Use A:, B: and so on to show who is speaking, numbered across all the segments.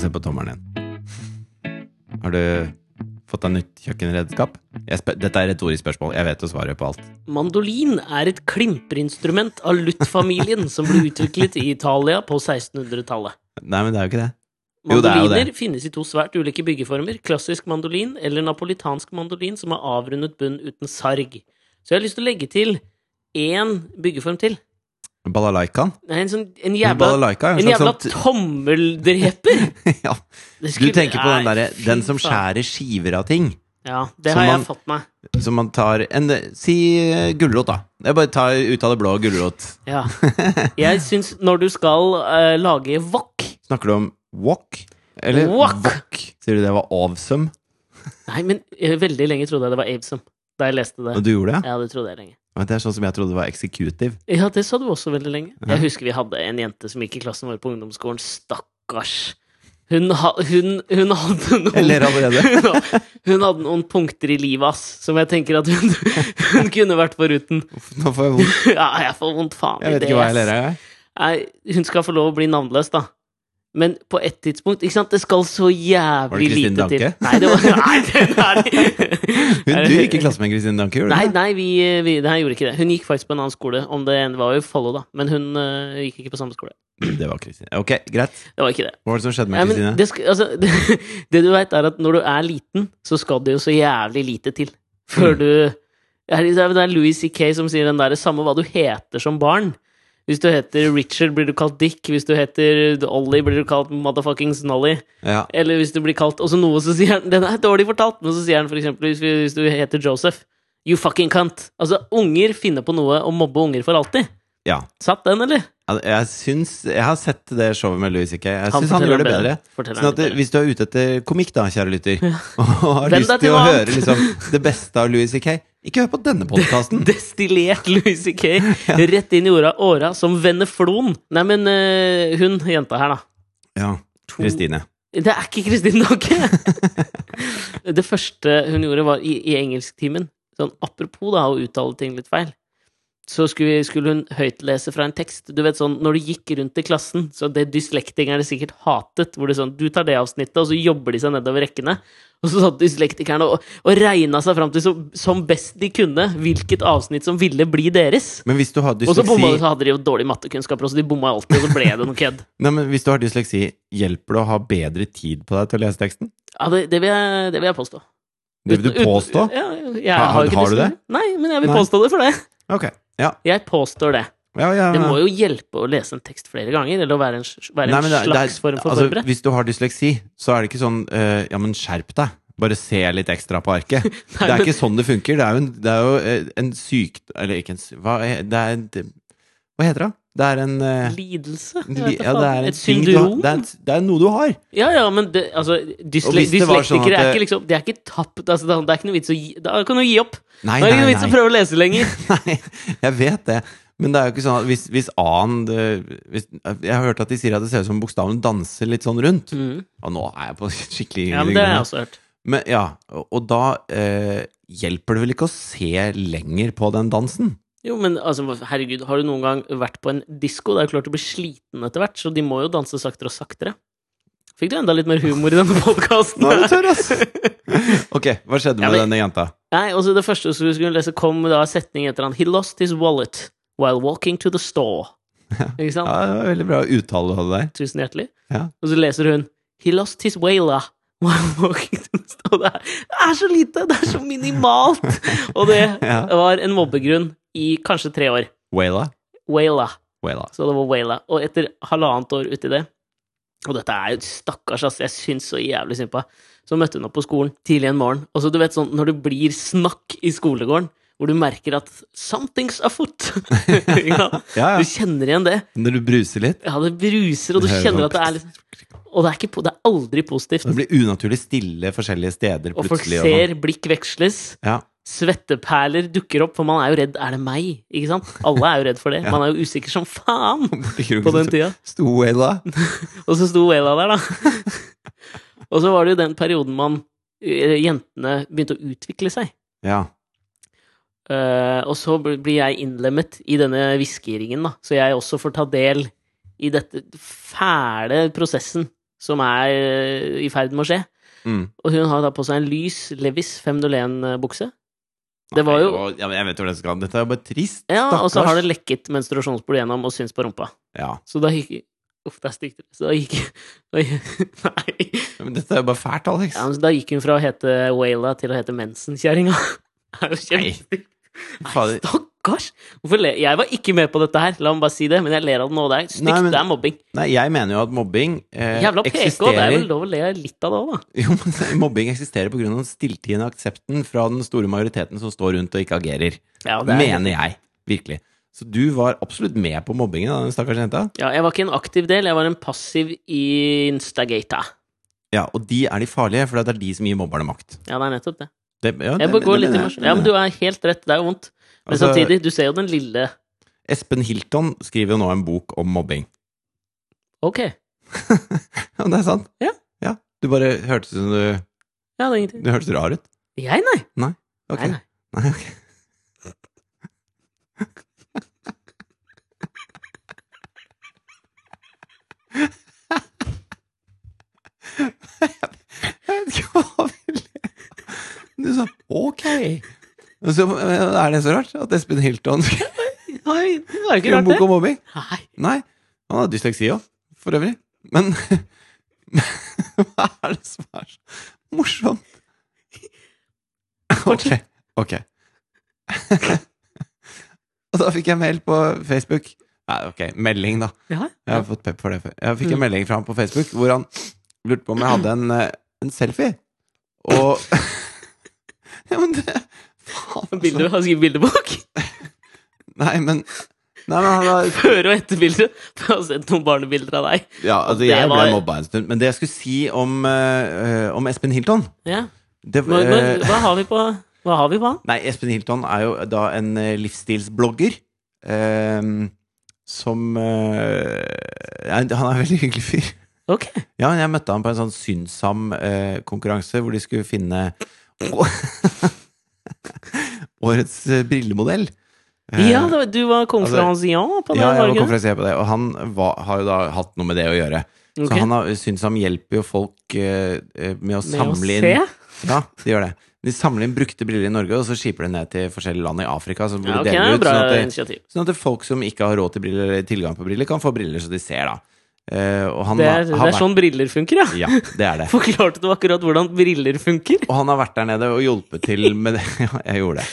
A: se på tommelen din. Har du fått deg nytt kjøkkenredskap? Jeg spør, dette er retorisk spørsmål. Jeg vet jo svaret på alt.
B: Mandolin er et klimperinstrument av lutt-familien som ble utviklet i Italia på 1600-tallet.
A: Nei, men det er jo ikke det. Jo, det er jo det.
B: Mandoliner finnes i to svært ulike byggeformer. Klassisk mandolin eller napolitansk mandolin som har avrundet bunn uten sarg. Så jeg har lyst til å legge til én byggeform til.
A: Balalaikaen?
B: Det er en sånn en
A: Men
B: jævla,
A: Balalaika er
B: en
A: jo en
B: jævla
A: slags
B: tommeldreper!
A: sånn ja.
B: Det
A: Du
B: skulle-
A: tenker på den
B: Nei,
A: derre Den
B: fy
A: som
B: faen.
A: skjærer skiver av ting.
B: Ja, det
A: som
B: har jeg
A: man-
B: fått meg.
A: Som man tar en, Si eh, gulrot, da. Jeg bare tar ut av det blå gulrot.
B: Ja. Jeg syns når du skal eh, lage wok
A: Snakker du om wok? Eller
B: Wok.
A: wok? Sier du det var awesome?
B: Nei, men eh, veldig lenge trodde jeg det var Abesom da jeg leste det.
A: Og du gjorde det?
B: Ja, det trodde jeg lenge.
A: Men Det er sånn som jeg trodde det var executive.
B: Ja, det sa du også veldig lenge. Jeg husker vi hadde en jente som gikk i klassen vår på ungdomsskolen. Stakkars. Hun, ha, hun, hun hadde
A: Jeg ler
B: noen
A: allerede.
B: hun, hun hadde noen punkter i livet, ass, som jeg tenker at hun, hun kunne vært foruten.
A: Uff, Nå får jeg vondt.
B: Ja, jeg får vondt faen
A: Jeg vet ikke hva jeg ler av. jeg.
B: Nei, hun skal få lov å bli navnløs, da. Men på et tidspunkt ikke sant? Det skal så
A: Var det
B: jævlig
A: Christine
B: lite til.
A: Danke?
B: Nei, det var, nei, den er
A: Hun, du gikk i klasse med Kristine Danke, gjorde du
B: Nei,
A: det?
B: nei, vi, vi nei, jeg gjorde ikke det. Hun gikk faktisk på en annen skole. Om det en var jo Follo, da. Men hun øh, gikk ikke på samme skole.
A: Det var Kristine. Ok, greit.
B: Det var ikke det.
A: Hva var det som skjedde
B: Nei,
A: med
B: men
A: Kristine?
B: det, skal, altså, det, det du veit, er at når du er liten, så skal det jo så jævlig lite til
A: Mm.
B: før du Det er liksom, det er Louis C.K. som sier den derre samme hva du heter som barn. Hvis du heter Richard, blir du kalt Dick. Hvis du heter Ollie, blir du kalt motherfuckings Nolly.
A: Ja.
B: Eller hvis du blir kalt også noe, så sier han Den er dårlig fortalt, men så sier han for eksempel hvis, vi- hvis du heter Joseph You fucking cunt. Altså, unger finner på noe å mobbe unger for alltid.
A: ja.
B: Satt den, eller?
A: Al- Jeg syns Jeg har sett det showet med Louis C.K. Jeg syns han
B: forteller
A: gjør det bedre.
B: Forteller
A: Sånn
B: han
A: at det-
B: bedre.
A: Hvis du er ute etter komikk, da, kjære lytter, og har
B: Vend
A: lyst
B: deg
A: til å
B: til noe
A: høre
B: annet.
A: liksom, det beste av Louis C.K., ikke hør på denne podkasten.
B: Destillert Louis C.K. rett inn i åra, åra som venneflon. Nei, men eh, hun jenta her, da.
A: Ja,
B: To-
A: Kristine.
B: Det er ikke Kristin Danke! det første hun gjorde, var i, i engelsktimen. Sånn apropos da, å uttale ting litt feil. Så skulle, vi, skulle hun høytlese fra en tekst. Du vet sånn, Når du gikk rundt i klassen, så det dyslektikerne sikkert hatet hvor det sånn, Du tar det avsnittet, og så jobber de seg nedover rekkene. Og så satt dyslektikerne og, og regna seg fram til som, som best de kunne hvilket avsnitt som ville bli deres.
A: Men hvis du har
B: Og så bomma de,
A: dysleksi,
B: så hadde de jo dårlige mattekunnskaper, og så de bomma alltid, og så ble det noe kødd.
A: nei, men hvis du har dysleksi, hjelper det å ha bedre tid på deg til å lese teksten?
B: Ja, det, det, vil jeg, det vil jeg påstå.
A: Det vil du
B: Uten- uten-
A: påstå?
B: Ja, jeg
A: Har-
B: har, jo ikke
A: har du
B: dysleksi. Nei, men jeg vil
A: Nei.
B: påstå det for det.
A: Ok. Ja.
B: Jeg påstår det.
A: ja, ja,
B: Det
A: ja.
B: må jo hjelpe å lese en tekst flere ganger, eller å være en, sj- være
A: Nei,
B: en
A: men det- det er-
B: slags form for
A: altså,
B: forberedt.
A: Hvis du har dysleksi, så er det ikke sånn eh, Ja, men skjerp deg. Bare se litt ekstra på arket.
B: Nei,
A: det er
B: men-
A: ikke sånn det funker. Det er jo en, det er jo eh, en syk... Eller ikke en sy- hva, er- det er, en- hva heter det? Det er en eh,
B: Lidelse? Jeg
A: li-
B: vet da
A: ja, det
B: faen.
A: er en
B: Et
A: ting du har-
B: syndrom?
A: Det er, en- det er noe du har.
B: Ja, ja, men det, altså, dysle,
A: Og hvis det var
B: dyslektikere
A: sånn at
B: er
A: det-
B: ikke liksom Det er ikke tapt. Altså, det, er- det er ikke noe vits å gi Da kan du gi opp.
A: Nei,
B: Da er det ikke
A: nei,
B: noe vits å
A: nei.
B: prøve å lese lenger.
A: nei. Jeg vet det. Men det er jo ikke sånn at hvis, hvis A-en det- hvis, Jeg har hørt at de sier at det ser ut som bokstaven danser litt sånn rundt.
B: Mm.
A: Og nå er jeg på skikkelig
B: Ja, men det har jeg også hørt.
A: Men ja, og og da eh, hjelper det vel ikke å se lenger på den dansen?
B: Jo, men altså, herregud, har du noen gang vært på en disko? Det er jo klart du blir sliten etter hvert, så de må jo danse saktere og saktere. Fikk du enda litt mer humor i denne podkasten?
A: Nå er du tørr, ass! Ok, hva skjedde
B: Ja,
A: med
B: men-
A: denne jenta?
B: Nei, og så det første som vi skulle lese, kom da en setning etter han He lost his wallet while walking to the store. Ikke sant?
A: Ja, det var veldig bra uttale du hadde der.
B: Tusen hjertelig.
A: Ja.
B: Og så leser hun He lost his whaler while walking to the store. Det er, det er så lite! Det er så minimalt! Og det
A: Ja.
B: var en mobbegrunn i kanskje tre år.
A: Waila.
B: Whaler.
A: Waila.
B: Så det var Wayla. Og etter halvannet år uti det Og dette er jo stakkars, ass. Jeg syns så jævlig synd på henne. Så møtte hun opp på skolen tidlig en morgen. Og så du vet sånn når det blir snakk i skolegården, hvor du merker at 'something's afoot'. ja.
A: Ja, ja.
B: Du kjenner igjen det.
A: Når du bruser litt.
B: Ja, det bruser, og du
A: Det hører
B: kjenner
A: man.
B: at det er liksom- litt Og det er, ikke, po- det er aldri positivt.
A: Det blir unaturlig stille forskjellige steder
B: Og folk
A: plutselig. sånn.
B: ser, blikk veksles,
A: ja.
B: svetteperler dukker opp, for man er jo redd 'er det meg?' ikke sant? Alle er jo redd for det. Man er jo usikker som faen
A: Borti kroken
B: på den
A: så
B: tida.
A: Sto Waila.
B: Og så sto Wela der, da. og så var det jo den perioden man eh, Jentene begynte å utvikle seg.
A: Ja.
B: Eh, og så bl- blir jeg innlemmet i denne hviskeringen, da. Så jeg også får ta del i dette fæle prosessen som er eh, i ferd med å skje.
A: Mm.
B: Og hun har da på seg en lys Levis 501-bukse. Det var jo
A: Nei, og- ja, men Jeg vet hvor det skal Dette er jo bare trist.
B: Ja, og så
A: stakkars.
B: har det lekket menstruasjonsblod gjennom og syns på rumpa.
A: Ja.
B: Så da gikk Uff, der stikk det. Så da gikk da gikk- Nei.
A: Men dette er jo bare fælt, Alex.
B: Ja, men så da gikk hun fra å hete Waila til å hete Mensen-kjerringa. Det er jo
A: Nei.
B: kjempestygt.
A: Fader.
B: Stakkars! Hvorfor le- Jeg var ikke med på dette her, la meg bare si det, men jeg ler av det nå. Det er stygt,
A: Nei, men-
B: det er mobbing.
A: Nei, jeg mener jo at mobbing eh,
B: Jævla PK, det er
A: eksisterer
B: vel lov å le litt av det òg, da.
A: Jo, men Mobbing eksisterer pga. den stilltiende aksepten fra den store majoriteten som står rundt og ikke agerer.
B: Ja, det er-
A: Mener jeg. Virkelig. Så du var absolutt med på mobbingen av den stakkars jenta?
B: Ja, jeg var ikke en aktiv del, jeg var en passiv instagator.
A: Ja, og de er de farlige, for det er de som gir mobberne makt.
B: Ja, det er nettopp det.
A: Det, ja,
B: Jeg
A: det-
B: bør gå
A: det
B: litt
A: mener jeg.
B: emosjonell. Ja, men du er helt rett, det er jo vondt. Men
A: Altså,
B: samtidig, du ser jo den lille
A: Espen Hilton skriver jo nå en bok om mobbing.
B: Ok.
A: Ja, det er sant.
B: Ja.
A: Du bare hørtes som du
B: Ja, det er ingenting.
A: Du hørtes rar ut.
B: Jeg, nei.
A: Ok.
B: Nei, nei.
A: Nei, ok. Jeg vet ikke hva vi ler av. Du sa ok. Og så eh, er det så rart at Espen Hilton skrev
B: Nei, det var jo ikke
A: en
B: rart,
A: bok
B: det.
A: om mobbing.
B: Nei.
A: Nei, han har dysleksi òg, for øvrig. Men hva er det som er så morsomt? Ok. ok. Og da fikk jeg mail på Facebook. Nei, ok, melding, da.
B: Ja, Mm.
A: Jeg har fått pep for det før. Jeg fikk en melding fra ham på Facebook hvor han lurte på om jeg hadde en, eh, en selfie. Og Ja, men det Faen. altså.
B: Bilder, har skrevet bildebok.
A: Nei, men Nei, men han har
B: Før- og etterbilder. For Jeg har sett noen barnebilder av deg.
A: Ja, altså
B: Det
A: jeg
B: var-
A: ble mobba en stund. Men det jeg skulle si om, eh, eh, om Espen Hilton
B: Ja.
A: det,
B: Hva, hva,
A: eh,
B: hva har vi på Hva har vi på han?
A: Nei, Espen Hilton er jo da en eh, livsstilsblogger eh, som eh, ja, Han er en veldig hyggelig fyr.
B: Ok.
A: Ja, jeg møtte han på en sånn Synsham-konkurranse hvor de skulle finne å- årets eh, brillemodell. Eh, Altså,
B: Ja, det var, du var konferansier på det?
A: ja, jeg var
B: ikke det?
A: konferansier på det, og han var, har jo da hatt noe med det å gjøre.
B: Ok.
A: Så han har, syns han hjelper jo folk eh, eh, med å
B: Med å
A: samle inn
B: se?
A: Ja, de gjør det. De samler inn brukte briller i Norge, og så skiper de ned til forskjellige land i Afrika. Så hvor
B: Ja, ok,
A: de
B: det
A: deler
B: er
A: ut,
B: et bra
A: sånn at, det,
B: initiativ.
A: sånn at det folk som ikke har råd til briller, eller tilgang på briller, kan få briller så de ser, da. Eh, og han
B: Det er,
A: har
B: det er
A: vært-
B: sånn briller funker, ja.
A: Ja, det er det.
B: Forklarte du akkurat hvordan briller funker?
A: Og han har vært der nede og hjulpet til med det. Ja, jeg gjorde det.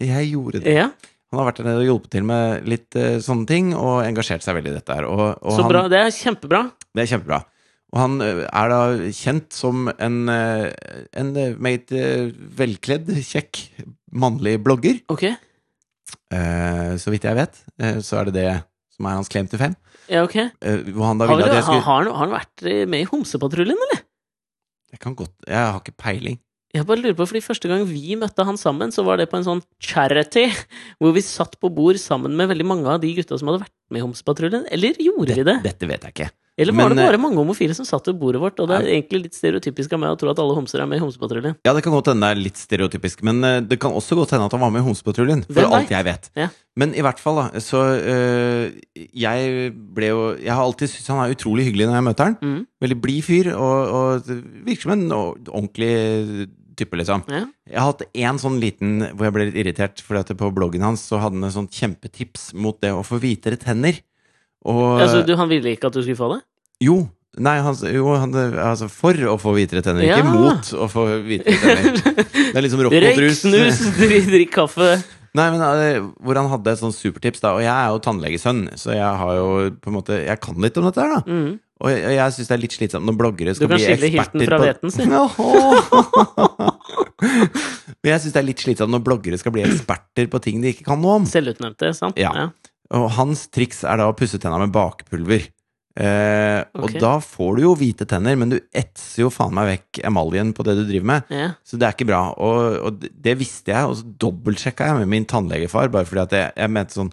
A: Jeg gjorde det.
B: Ja,
A: Han har vært der nede og hjulpet til med litt eh, sånne ting, og engasjert seg veldig i dette her. Og, og
B: så
A: han,
B: bra. Det er kjempebra.
A: Det er kjempebra. Og han ø, er da kjent som en, ø, en ø, meget ø, velkledd, kjekk, mannlig blogger.
B: Ok.
A: Eh, så vidt jeg vet, eh, så er det det som er hans claim to fame.
B: Ja, ok.
A: Eh, hvor han da
B: Har,
A: ville
B: vel-
A: at jeg
B: har,
A: skulle
B: har, han, har han vært eh, med i Homsepatruljen, eller?
A: Jeg kan godt Jeg har ikke peiling.
B: Jeg bare lurer på, fordi Første gang vi møtte han sammen, så var det på en sånn charity, hvor vi satt på bord sammen med veldig mange av de gutta som hadde vært med i Homsepatruljen. Eller gjorde de det?
A: Dette vet jeg ikke.
B: Eller var
A: men,
B: det
A: eh,
B: bare mange homofile som satt ved bordet vårt? Og det er egentlig litt stereotypisk av meg å tro at alle homser er med i Homsepatruljen.
A: Ja, det kan godt hende det er litt stereotypisk, men eh, det kan også godt hende at han var med i Homsepatruljen, for
B: Hvem
A: alt
B: vet?
A: jeg vet.
B: Ja.
A: Men i hvert fall, da, så eh, jeg ble jo Jeg har alltid syntes han er utrolig hyggelig når jeg møter han.
B: Mm.
A: Veldig blid fyr, og, og virker som en ordentlig type, liksom.
B: Ja.
A: Jeg har hatt én sånn liten hvor jeg ble litt irritert, fordi at på bloggen hans så hadde han et sånt kjempetips mot det å få hvitere tenner. Og eh,
B: Altså, du, han ville ikke at du skulle få det?
A: Jo! Nei, han, jo, han, altså for å få hvitere tenner,
B: Ja.
A: ikke mot å få hvitere tenner. Det er liksom rock mot
B: Røyk,
A: rus.
B: snus, drikk, drikk kaffe
A: Nei, men eh, hvor han hadde et sånt supertips, da. Og jeg er jo tannlegesønn, så jeg har jo på en måte Jeg kan litt om dette her, da.
B: mm.
A: Og jeg, og jeg syns det er litt slitsomt når bloggere skal
B: Du kan
A: bli
B: skille hilten
A: eksperter
B: fra
A: på
B: hveten, si.
A: Åh. Men jeg syns det er litt slitsomt når bloggere skal bli eksperter på ting de ikke kan noe om.
B: Selvutnevnte, sant?
A: Ja. Og hans triks er da å pusse tenna med bakpulver. Eh,
B: Ok.
A: Og da får du jo hvite tenner, men du etser jo faen meg vekk emaljen på det du driver med.
B: ja. ja.
A: Så det er ikke bra. Og, og det- det visste jeg, og så dobbeltsjekka jeg med min tannlegefar, bare fordi at jeg, jeg mente sånn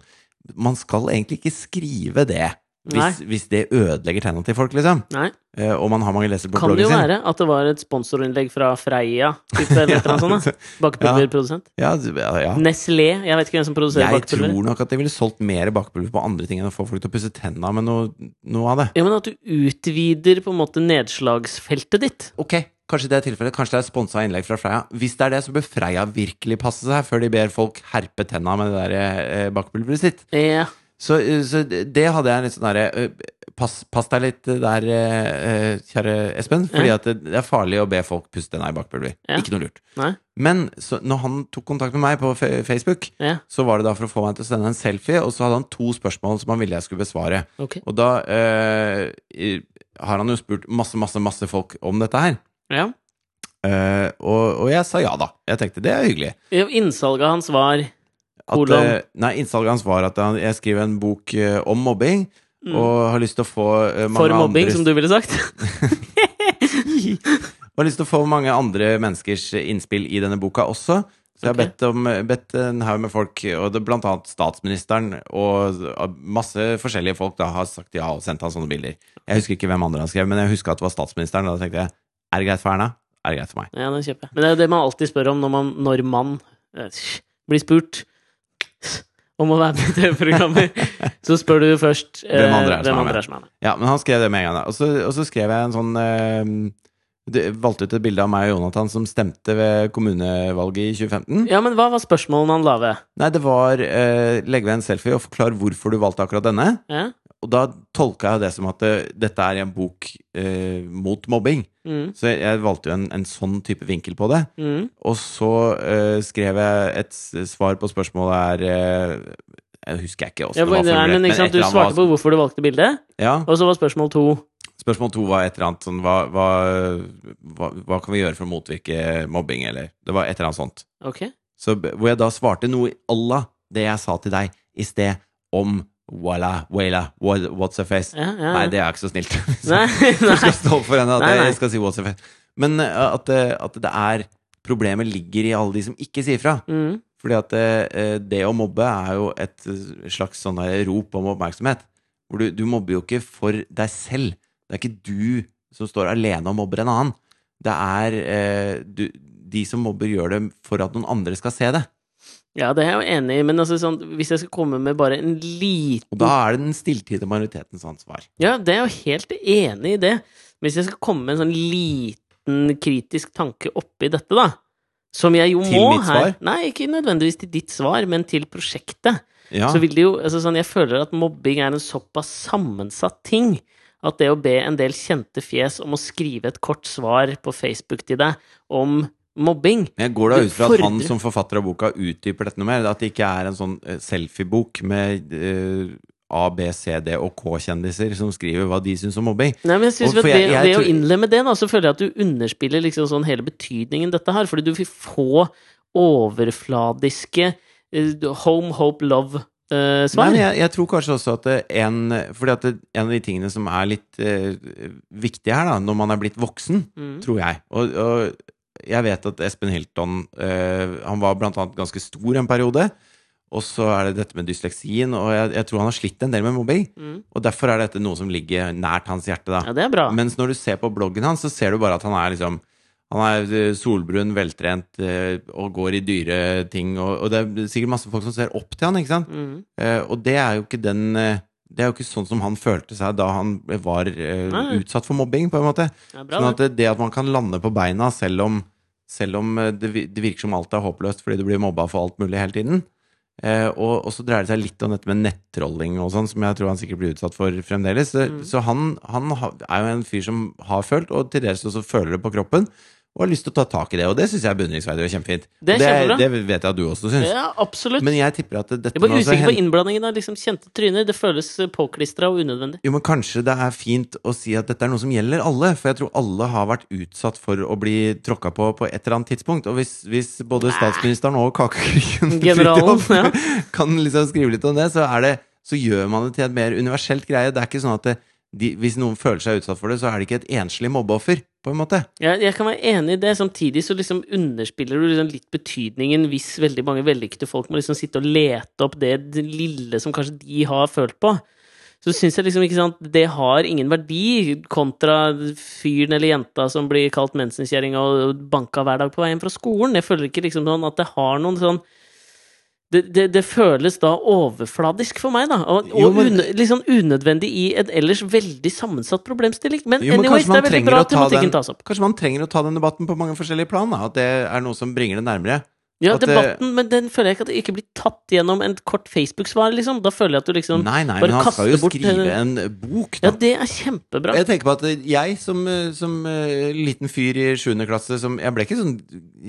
A: Man skal egentlig ikke skrive det Hvis, hvis det ødelegger tegna til folk, liksom.
B: Nei.
A: Eh, og man har mange lesere på
B: Kan det
A: bloggen
B: jo
A: sin.
B: være at det var et sponsorinnlegg fra Freia, type, eller noe sånt? da. Bakepulverprodusent.
A: Ja, ja, ja.
B: Nestlé, jeg vet ikke hvem som produserer
A: Jeg
B: bakepulver.
A: tror nok at jeg ville solgt mer bakepulver på andre ting enn å få folk til å pusse tenna med noe, noe av det.
B: Ja, men at du utvider på en måte nedslagsfeltet ditt.
A: Ok, kanskje det er tilfellet. Kanskje det er sponsa innlegg fra Freia. Hvis det er det, så bør Freia virkelig passe seg før de ber folk herpe tenna med det der eh, bakepulveret sitt.
B: Ja.
A: Så, eh, så det hadde jeg litt sånn derre eh, pass, pass deg litt der, eh, eh, kjære Espen, fordi
B: Ja.
A: at det, det er farlig å be folk pusse tenna i bakepulver.
B: Ja.
A: Ikke noe lurt.
B: Nei.
A: Men så, når han tok kontakt med meg på fe- Facebook,
B: Ja.
A: så var det da for å få meg til å sende en selfie, og så hadde han to spørsmål som han ville jeg skulle besvare.
B: Ok.
A: Og da eh, i- har han jo spurt masse, masse, masse folk om dette her.
B: Ja.
A: Eh, og, og jeg sa ja, da. Jeg tenkte det er hyggelig.
B: Ja, Innsalget hans var
A: At,
B: Hvordan?
A: eh, nei, Innsalget hans var at han, jeg skriver en bok eh, om mobbing, og har lyst til å få eh, mange
B: Mm. for mobbing,
A: andres-
B: som du ville sagt.
A: Og har lyst til å få mange andre menneskers innspill i denne boka også. Så jeg har
B: Ok.
A: bedt, om, bedt en haug med folk, og det, blant annet statsministeren og masse forskjellige folk da har sagt ja og sendt han sånne bilder. Jeg husker ikke hvem andre han skrev, men jeg husker at det var statsministeren. Og da tenkte jeg er det greit for Erna? Er det greit for meg?
B: Ja, den kjøper jeg. Men det er jo det man alltid spør om når man, når man eh, blir spurt om å være med i TV-programmer. Så spør du først eh,
A: Hvem andre er det som er med?
B: andre som er med.
A: Ja, men han skrev det med en gang. da. Og så, og så skrev jeg en sånn eh, det, Valgte ut et bilde av meg og Jonathan som stemte ved kommunevalget i 2015.
B: Ja, men hva var spørsmålene han la ved?
A: Nei, det var eh, legge ved en selfie og forklare hvorfor du valgte akkurat denne.
B: Ja?
A: Og da tolka jeg det som at eh, dette er en bok eh, mot mobbing.
B: Mm,
A: Så jeg, jeg valgte jo en, en sånn type vinkel på det.
B: mm.
A: Og så eh, skrev jeg et s- svar på spørsmålet er eh, Jeg husker ikke
B: Ja,
A: åssen det
B: men, nei,
A: var formulert.
B: men, ikke
A: et
B: sant? Du
A: eller annet
B: svarte på
A: var-
B: hvorfor du valgte bildet,
A: ja,
B: og så var spørsmål to
A: Spørsmål to var et eller annet sånn hva, hva, hva, hva kan vi gjøre for å motvirke mobbing, eller Det var et eller annet sånt.
B: Ok.
A: Så, b- hvor jeg da svarte noe i alla det jeg sa til deg i sted om Walla, walla, what- what's a face?
B: Ja, ja.
A: Nei, det er ikke så snilt.
B: Nei,
A: Jeg skal
B: nei.
A: stå opp for henne at
B: Nei, nei.
A: jeg skal si what's up. Men eh, at, eh, at det er Problemet ligger i alle de som ikke sier fra.
B: Mm.
A: Fordi at eh, det å mobbe er jo et eh, slags sånn der rop om oppmerksomhet. Hvor du, du mobber jo ikke for deg selv. Det er ikke du som står alene og mobber en annen. Det er eh, du, De som mobber, gjør det for at noen andre skal se det.
B: Ja, det er jeg jo enig i, men altså, sånn, hvis jeg skal komme med bare en
A: Og
B: liten
A: da er det den stilltiende majoritetens ansvar.
B: Ja, det er jeg jo helt enig i det. Men hvis jeg skal komme med en sånn liten kritisk tanke oppi dette, da Som jeg jo
A: Til
B: må
A: mitt
B: her
A: svar?
B: Nei, ikke nødvendigvis til ditt svar, men til prosjektet.
A: Ja,
B: Så vil det jo altså, sånn, Jeg føler at mobbing er en såpass sammensatt ting. At det å be en del kjente fjes om å skrive et kort svar på Facebook til deg om mobbing
A: Men Jeg går da
B: Det
A: ut fra at han
B: fordrer-
A: som forfatter av boka utdyper dette noe mer. At det ikke er en sånn eh, selfiebok med eh, A, B, C, D og K-kjendiser som skriver hva de syns om mobbing.
B: Nei, men jeg synes
A: Og for
B: ved,
A: jeg-
B: det,
A: jeg
B: ved
A: tror-
B: å innlemme det, da, så føler jeg at du underspiller liksom sånn hele betydningen dette har. Fordi du vil få overfladiske eh, home, hope, eh,
A: Nei,
B: love-svar.
A: men jeg, jeg tror kanskje også at eh, en Fordi at det- en av de tingene som er litt eh, viktig her, da, når man er blitt voksen,
B: mm.
A: tror jeg Og, og jeg vet at Espen Hilton eh, Han var blant annet ganske stor en periode. Og så er det dette med dysleksien, og jeg, jeg tror han har slitt en del med mobbing.
B: Mm.
A: Og derfor er dette noe som ligger nært hans hjerte, da.
B: Ja, det er bra.
A: Mens når du ser på bloggen hans, så ser du bare at han er liksom han er eh, solbrun, veltrent eh, og går i dyre ting. Og, og det er sikkert masse folk som ser opp til han, ikke sant?
B: Mm.
A: Eh, og det er jo ikke den eh, Det er jo ikke sånn som han følte seg da han var eh,
B: Nei.
A: utsatt for mobbing, på en måte.
B: Det er bra,
A: Sånn
B: det.
A: at det, det at man kan lande på beina selv om, selv om eh, det, vi- det virker som alt er håpløst fordi du blir mobba for alt mulig hele tiden. Eh, og, og så dreier det seg litt om dette med nettrolling og sånn, som jeg tror han sikkert blir utsatt for fremdeles. Så,
B: Mm.
A: så han, han ha- er jo en fyr som har følt, og til dels også føler det på kroppen, og har lyst til å ta tak i det. Og det syns jeg er beundringsverdig og kjempefint.
B: Det er kjempebra.
A: det vet jeg at du også syns.
B: Ja, absolutt.
A: Men jeg tipper at dette
B: jeg er bare
A: med også
B: usikker
A: hen-
B: på innblandingen av liksom kjente tryner. Det føles påklistra og unødvendig.
A: Jo, men kanskje det er fint å si at dette er noe som gjelder alle, for jeg tror alle har vært utsatt for å bli tråkka på på et eller annet tidspunkt. Og hvis, hvis både statsministeren og kakekrigen
B: Generalen,
A: Fridtjof kan liksom skrive litt om det, så, er det, så gjør man det til et mer universelt greie. Det er ikke sånn at det, de, hvis noen føler seg utsatt for det, så er det ikke et enslig mobbeoffer, på en måte.
B: Jeg, jeg kan være enig i det. Samtidig så liksom underspiller du liksom litt betydningen hvis veldig mange vellykkede folk må liksom sitte og lete opp det lille som kanskje de har følt på. Så syns jeg liksom ikke sant, det har ingen verdi, kontra fyren eller jenta som blir kalt mensenkjerring og banka hver dag på veien fra skolen. Jeg føler ikke liksom sånn at det har noen sånn det, det, det føles da overfladisk for meg, da. Og, og
A: Jo, men-
B: unø- litt sånn unødvendig i en ellers veldig sammensatt problemstilling. Men,
A: Jo, men kanskje
B: anyways, det
A: man
B: er veldig
A: trenger
B: bra
A: å
B: at
A: ta den-
B: tematikken tas opp.
A: Kanskje man trenger å ta den debatten på mange forskjellige plan, da. At det er noe som bringer det nærmere.
B: Ja,
A: at eh, det-
B: debatten, men den føler jeg ikke at det ikke blir tatt gjennom en kort Facebook-svar, liksom. Da føler jeg at du liksom
A: Nei, nei,
B: bare
A: men han skal
B: kaste
A: jo
B: bort,
A: skrive
B: eh,
A: en bok,
B: Ja,
A: da.
B: det er kjempebra.
A: Jeg tenker på at jeg som, eh, som eh, liten fyr i 7. klasse som, Jeg ble ikke sånn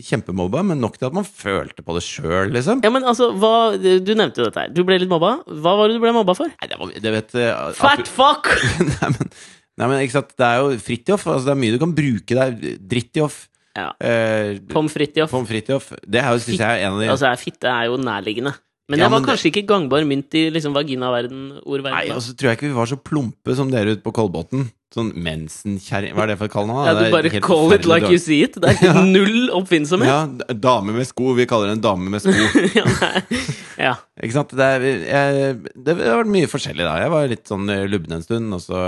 A: kjempemobba, men nok til at man følte på det sjøl, liksom.
B: Ja, men altså, hva, Du nevnte jo dette her. Du ble litt mobba. Hva var det du ble mobba for?
A: Nei, det var det vet, eh,
B: Fat fuck!
A: nei, men, nei, men ikke sant? Det er jo Fridtjof. Altså, det er mye du kan bruke der. Drittjof.
B: Ja.
A: Eh,
B: Pommes frites.
A: Pommes Fridtjof. Det er jo, synes jeg, er en av de
B: Altså, fitte er jo nærliggende. Men
A: Ja,
B: det var
A: men det-
B: kanskje ikke gangbar mynt i liksom, vaginaverden,
A: Nei, altså,
B: ordverden.
A: og
B: da.
A: så tror jeg ikke vi var så plumpe som dere ute på Kolbotn. Sånn mensenkjerring Hva er det for kallenavn?
B: ja, du bare call it like you see it. Det er
A: Ja.
B: null oppfinnsomhet.
A: Ja, d- dame med sko. Vi kaller det en dame med sko.
B: Ja, nei. ja.
A: Ikke sant? Det, er, jeg, det har vært mye forskjellig da. Jeg var litt sånn eh, lubben en stund, og så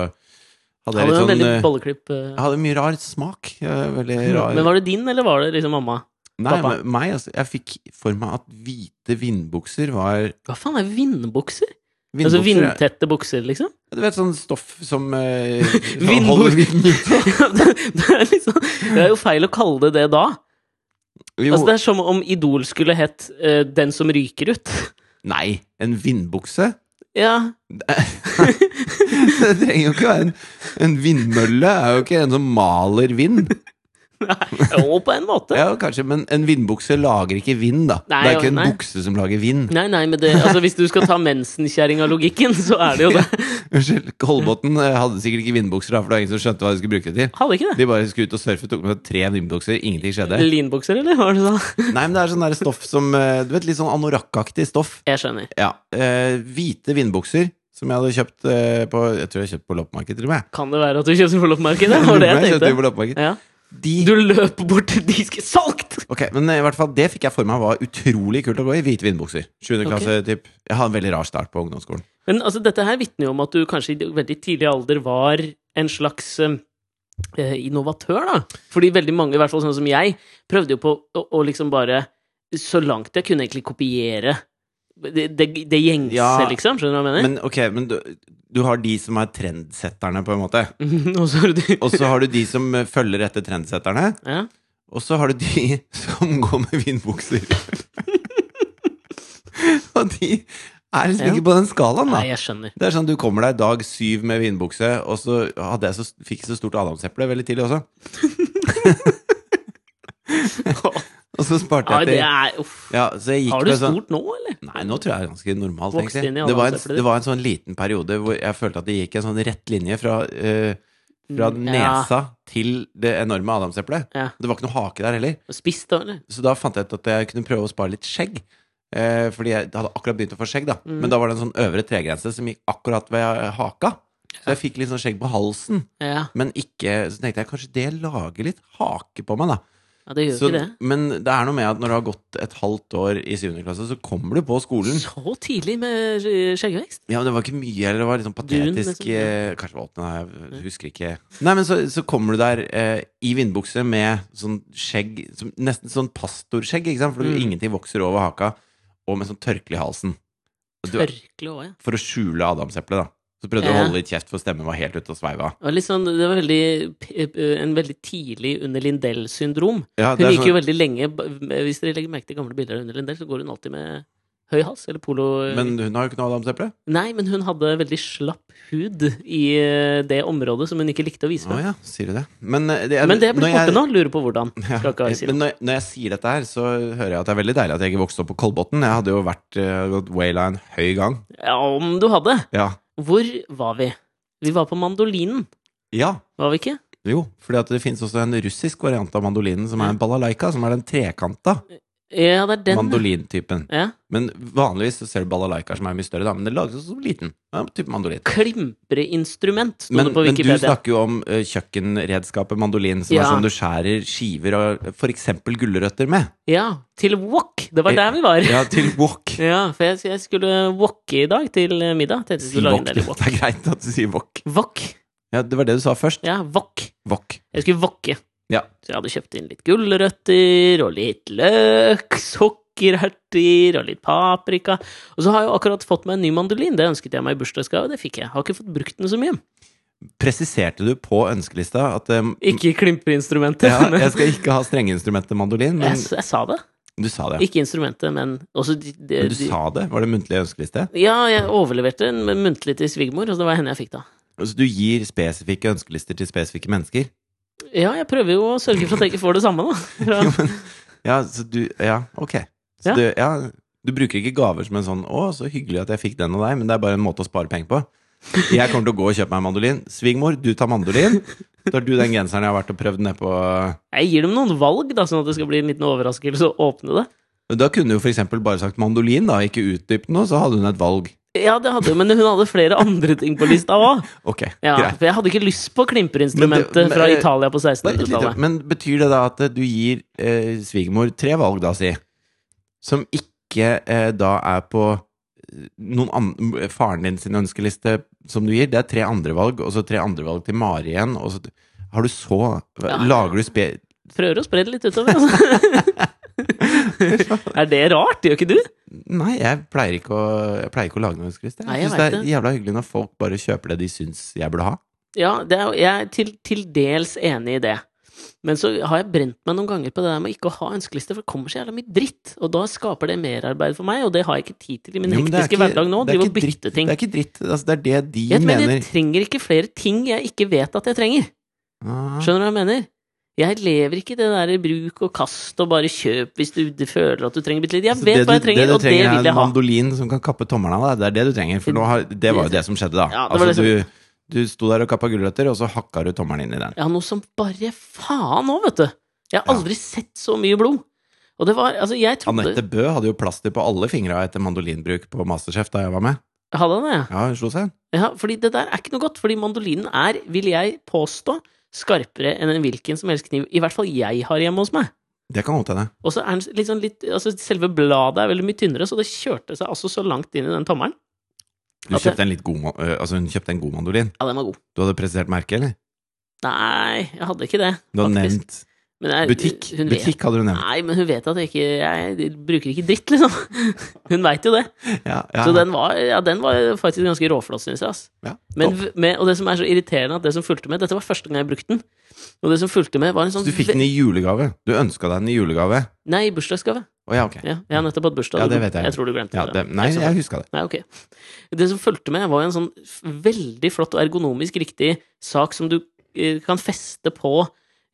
A: hadde jeg
B: Hadde
A: litt
B: en
A: sånn
B: veldig
A: eh,
B: bolleklipp. eh,
A: Jeg hadde mye rar smak. Jeg var Veldig rar.
B: Men var det din, eller var det liksom mamma?
A: Nei,
B: pappa?
A: men meg, altså. Jeg fikk for meg at hvite vindbukser var
B: Hva faen er vindbukser?
A: Vindbukser
B: Altså
A: er-
B: vindtette bukser, liksom?
A: Du vet sånn stoff som eh,
B: Vindbok-
A: holder vinden ute?
B: Ja, det, det, er liksom, det er jo feil å kalle det det da.
A: Jo,
B: Altså, det er som om Idol skulle hett eh, 'Den som ryker ut'.
A: Nei, en vindbukse?
B: Ja,
A: Det trenger jo ikke være en, en vindmølle. Er jo ikke en som maler vind.
B: og på en måte.
A: Ja, kanskje, Men en vindbukse lager ikke vind, da.
B: Nei,
A: det er
B: jo,
A: ikke en
B: nei.
A: bukse som lager vind.
B: Nei, nei, men det, altså, hvis du skal ta mensenkjerringa-logikken, så er det jo det.
A: Unnskyld, Kolbotn eh, hadde sikkert ikke vindbukser, da, for det var ingen som skjønte hva de skulle bruke det til.
B: Hadde ikke det?
A: De bare skulle ut og surfe, tok med seg tre vindbukser, ingenting skjedde.
B: Linbukser, eller? Hva var det du sa?
A: Nei, men det er sånn der stoff som eh, Du vet, litt sånn anorakkaktig stoff.
B: Jeg skjønner.
A: Ja. eh, hvite vindbukser som jeg hadde kjøpt eh, på Jeg tror jeg kjøpte på loppemarked, til og med.
B: Kan det være at du kjøpte på loppemarkedet? Var det jeg
A: kjøpte de
B: tenkte?
A: på loppemarked.
B: Ja.
A: De
B: Du løper bort til disken Solgt!
A: Ok, men eh, i hvert fall det fikk jeg for meg var utrolig kult å gå i. Hvite vindbukser. 7.
B: Ok.
A: klasse, typ. Jeg hadde en veldig rar start på ungdomsskolen.
B: Men altså, dette her vitner jo om at du kanskje i veldig tidlig alder var en slags eh, innovatør, da. Fordi veldig mange, i hvert fall sånn som jeg, prøvde jo på å, å liksom bare Så langt jeg kunne egentlig kopiere det, det, det gjengse,
A: Ja,
B: liksom. Skjønner du hva jeg mener?
A: Men ok, men du, du har de som er trendsetterne, på en måte.
B: Og så har du
A: Og så har du de som eh, følger etter trendsetterne.
B: ja.
A: Og så har du de som går med vindbukser. Og de er liksom
B: Ja.
A: ikke på den skalaen, da.
B: Nei, jeg skjønner.
A: Det er sånn, Du kommer deg dag syv med vinbukse, og så hadde jeg så, fikk jeg så stort adamseple veldig tidlig også. Og så sparte
B: Ja,
A: jeg
B: det
A: til
B: er Uff.
A: ja, så jeg gikk
B: Har du
A: med sånn,
B: stort nå, eller?
A: Nei, nå tror jeg det er ganske normalt.
B: Vokst
A: egentlig.
B: inn i
A: det, var en,
B: adamseplet ditt.
A: det var en sånn liten periode hvor jeg følte at det gikk en sånn rett linje fra, eh, fra
B: Mm, ja.
A: nesa til det enorme adamseplet.
B: Ja.
A: Det var ikke noe hake der heller.
B: Spist, da, eller?
A: Så da fant jeg ut at jeg kunne prøve å spare litt skjegg. Eh, fordi jeg hadde akkurat begynt å få skjegg, da.
B: Mhm.
A: Men da var det en sånn øvre tregrense som gikk akkurat ved haka. Så jeg fikk litt sånn skjegg på halsen.
B: Ja,
A: Men ikke, så tenkte jeg kanskje det lager litt hake på meg, da.
B: ja det gjør
A: Så,
B: ikke det.
A: men det er noe med at når du har gått et halvt år i 7. klasse, så kommer du på skolen.
B: Så tidlig med skje- skjeggvekst?
A: Ja, men det var ikke mye, eller det var litt sånn
B: Dun,
A: patetisk
B: liksom.
A: eh, Kanskje det var åttende, nei, jeg husker ikke. Nei, men så, så kommer du der eh, i vindbukse med sånn skjegg, som, nesten sånn pastorskjegg, ikke sant? For du-
B: Mm.
A: ingenting vokser over haka, og med sånn tørkle i halsen. Og Du,
B: Tørkle òg, ja.
A: for å skjule adamseplet, da. Så prøvde du å
B: Ja.
A: holde litt kjeft, for stemmen var helt ute og sveiva.
B: Det var, litt sånn, det var veldig, p- p- en veldig tidlig under Lindell-syndrom.
A: Ja,
B: Hun
A: det er
B: gikk jo
A: sånn,
B: veldig lenge b- Hvis dere legger merke til gamle bilder av under Lindell, så går hun alltid med høy hals eller polo.
A: men hun har jo ikke noe adamseple.
B: Nei, men hun hadde veldig slapp hud i eh, det området som hun ikke likte å vise
A: Å
B: frem.
A: ja, sier du det. Men eh, det er,
B: Men det er
A: når
B: blitt
A: jeg-
B: borte nå. Lurer på hvordan.
A: Ja,
B: Skal ikke ha i siden.
A: men når, når jeg sier dette her, så hører jeg at det er veldig deilig at jeg ikke vokste opp på Kolbotn. Jeg hadde jo vært eh, gått wayline høy gang.
B: Ja, om du hadde.
A: Ja.
B: Hvor var vi? Vi var på mandolinen,
A: ja.
B: var vi ikke?
A: Jo, fordi at det finnes også en russisk variant av mandolinen, som er en balalaika, som er den trekanta.
B: Ja, det er den.
A: Mandolintypen.
B: Ja.
A: Men vanligvis så ser du balalaika som er mye større, da, men det lages også som liten. Ja, type mandolin.
B: Klimperinstrument, sto
A: Men,
B: det på
A: men du
B: Wikipedia.
A: snakker jo om eh, kjøkkenredskapet mandolin, som er
B: Ja.
A: sånn du skjærer skiver av f.eks. gulrøtter med.
B: Ja, til wok! Det
A: Eh,
B: var der vi var.
A: Ja, til wok.
B: Ja, for jeg, jeg skulle wokke i dag til middag. Tenkte jeg
A: Si
B: skulle lage
A: wok.
B: en
A: Det
B: del wok.
A: er greit at du sier wok.
B: Wok.
A: Ja, det var det du sa først.
B: Ja, wok.
A: Wok.
B: Jeg skulle wokke.
A: Ja.
B: Så jeg hadde kjøpt inn litt gulrøtter og litt løk, sukkererter og litt paprika. Og så har jeg jo akkurat fått meg en ny mandolin. Det ønsket jeg meg i bursdagsgave, det fikk jeg. Har ikke fått brukt den så mye.
A: Presiserte du på ønskelista at eh,
B: Ikke klimperinstrumentet,
A: ja,
B: men
A: jeg skal ikke ha strengeinstrumentet mandolin, men
B: jeg, jeg sa det.
A: du sa det.
B: Ikke instrumentet, men også de, de,
A: Men du
B: de,
A: sa det? Var det muntlig ønskeliste?
B: Ja, jeg overleverte den men muntlig til svigermor, og det var henne jeg fikk da.
A: Altså, du gir spesifikke ønskelister til spesifikke mennesker?
B: Ja, jeg prøver jo å sørge for at jeg ikke får det samme, da.
A: Jo, men, ja, så du Ja, ok. Så
B: Ja.
A: Du, ja, du bruker ikke gaver som en sånn 'Å, så hyggelig at jeg fikk den og deg', men det er bare en måte å spare penger på. Jeg kommer til å gå og kjøpe meg en mandolin. Svigermor, du tar mandolin. Så har du den genseren jeg har vært og prøvd nedpå
B: Jeg gir dem noen valg, da, sånn at det skal bli en liten overraskelse å åpne det.
A: Da kunne du for eksempel bare sagt mandolin, da, ikke utdypt noe, så hadde hun et valg.
B: Ja, det hadde hun, men hun hadde flere andre ting på lista òg.
A: Ok,
B: Ja,
A: greit.
B: for jeg hadde ikke lyst på
A: Men
B: klimperinstrumentet
A: det- men-
B: fra Italia på
A: Bare et lite-
B: 1600-tallet.
A: Men betyr det da at eh, du gir eh, svigermor tre valg, da, si, som ikke eh, da er på eh, noen an faren din sin ønskeliste som du gir? Det er tre andre valg, og så tre andre valg til Mari igjen, og så har du så
B: Ja.
A: Lager du spe...
B: Prøver å spre det litt utover, altså. er det rart? Gjør ikke du?
A: Nei, jeg pleier ikke å, jeg pleier ikke å lage noen ønskeliste.
B: Nei,
A: Jeg
B: jeg
A: syns det
B: vet
A: er jævla hyggelig når folk bare kjøper det de syns jeg burde ha.
B: Ja, det er, jo- jeg er til, til dels enig i det. Men så har jeg brent meg noen ganger på det der med ikke å ha ønskeliste, for det kommer så jævla mye dritt. Og da skaper det merarbeid for meg, og det har jeg ikke tid til i min
A: Jo, men det er
B: hektiske
A: ikke-
B: hverdag nå.
A: det er
B: Drive og
A: ikke
B: bytte
A: dritt,
B: ting.
A: Det er ikke dritt. Altså, det er det de
B: Jeg, mener,
A: mener.
B: jeg trenger ikke flere ting jeg ikke vet at jeg trenger.
A: Ah.
B: Skjønner du hva jeg mener? Jeg lever ikke i det der bruk og kast og bare kjøp hvis du du føler at du trenger bitte litt. Jeg
A: Så
B: vet
A: Altså, det
B: hva jeg
A: du-
B: trenger,
A: det du
B: og det
A: er
B: vil jeg
A: en
B: ha.
A: mandolin som kan kappe tommelen av deg. Det er det du trenger. For nå har, det var jo det som skjedde, da.
B: Ja, det var
A: altså, du, du sto der og kappa gulrøtter, og så hakka du tommelen inn i den.
B: Ja, noe som bare faen nå, vet du. Jeg har
A: Ja.
B: aldri sett så mye blod. Og det var Altså, jeg trodde
A: Anette Bø hadde jo plaster på alle fingra etter mandolinbruk på Masterchef da jeg var med.
B: Hadde han det? ja?
A: Ja, hun slo seg.
B: Ja, fordi det der er ikke noe godt. Fordi mandolinen er, vil jeg påstå, skarpere enn en hvilken som helst kniv. I hvert fall jeg har hjemme hos meg.
A: Det kan godt hende.
B: Og så er den litt sånn litt Altså, selve bladet er veldig mye tynnere, så det kjørte seg altså så langt inn i den tommelen.
A: Du
B: At det-
A: kjøpte en litt god, ma- øh, altså, hun kjøpte en god mandolin.
B: Ja, den var god.
A: Du hadde presisert merke, eller?
B: Nei, jeg hadde ikke det.
A: Du hadde
B: faktisk.
A: nevnt
B: Men jeg-
A: butikk.
B: hun vet-
A: Butikk hadde du nevnt.
B: Nei, men hun vet at jeg ikke Jeg bruker ikke dritt, liksom. Hun veit jo det.
A: Ja, ja.
B: Så den var, ja, den var faktisk ganske råflott, syns jeg. Ass.
A: ja.
B: Men,
A: Topp.
B: v- med, og det som er så irriterende, at det som fulgte med Dette var første gang jeg brukte den. Og det som fulgte med, var en
A: Så
B: sånn
A: du fikk den i julegave. Du ønska deg den i julegave.
B: ve- Nei, bursdagsgave.
A: Å ja, ok.
B: Ja, jeg har nettopp hatt bursdag.
A: Ja,
B: Du-
A: det vet jeg.
B: tror du glemte
A: Ja,
B: det.
A: det, nei,
B: Jeg så-
A: jeg huska det.
B: Nei, ok. Det som fulgte med, var jo en sånn f- veldig flott og ergonomisk riktig sak som du eh, kan feste på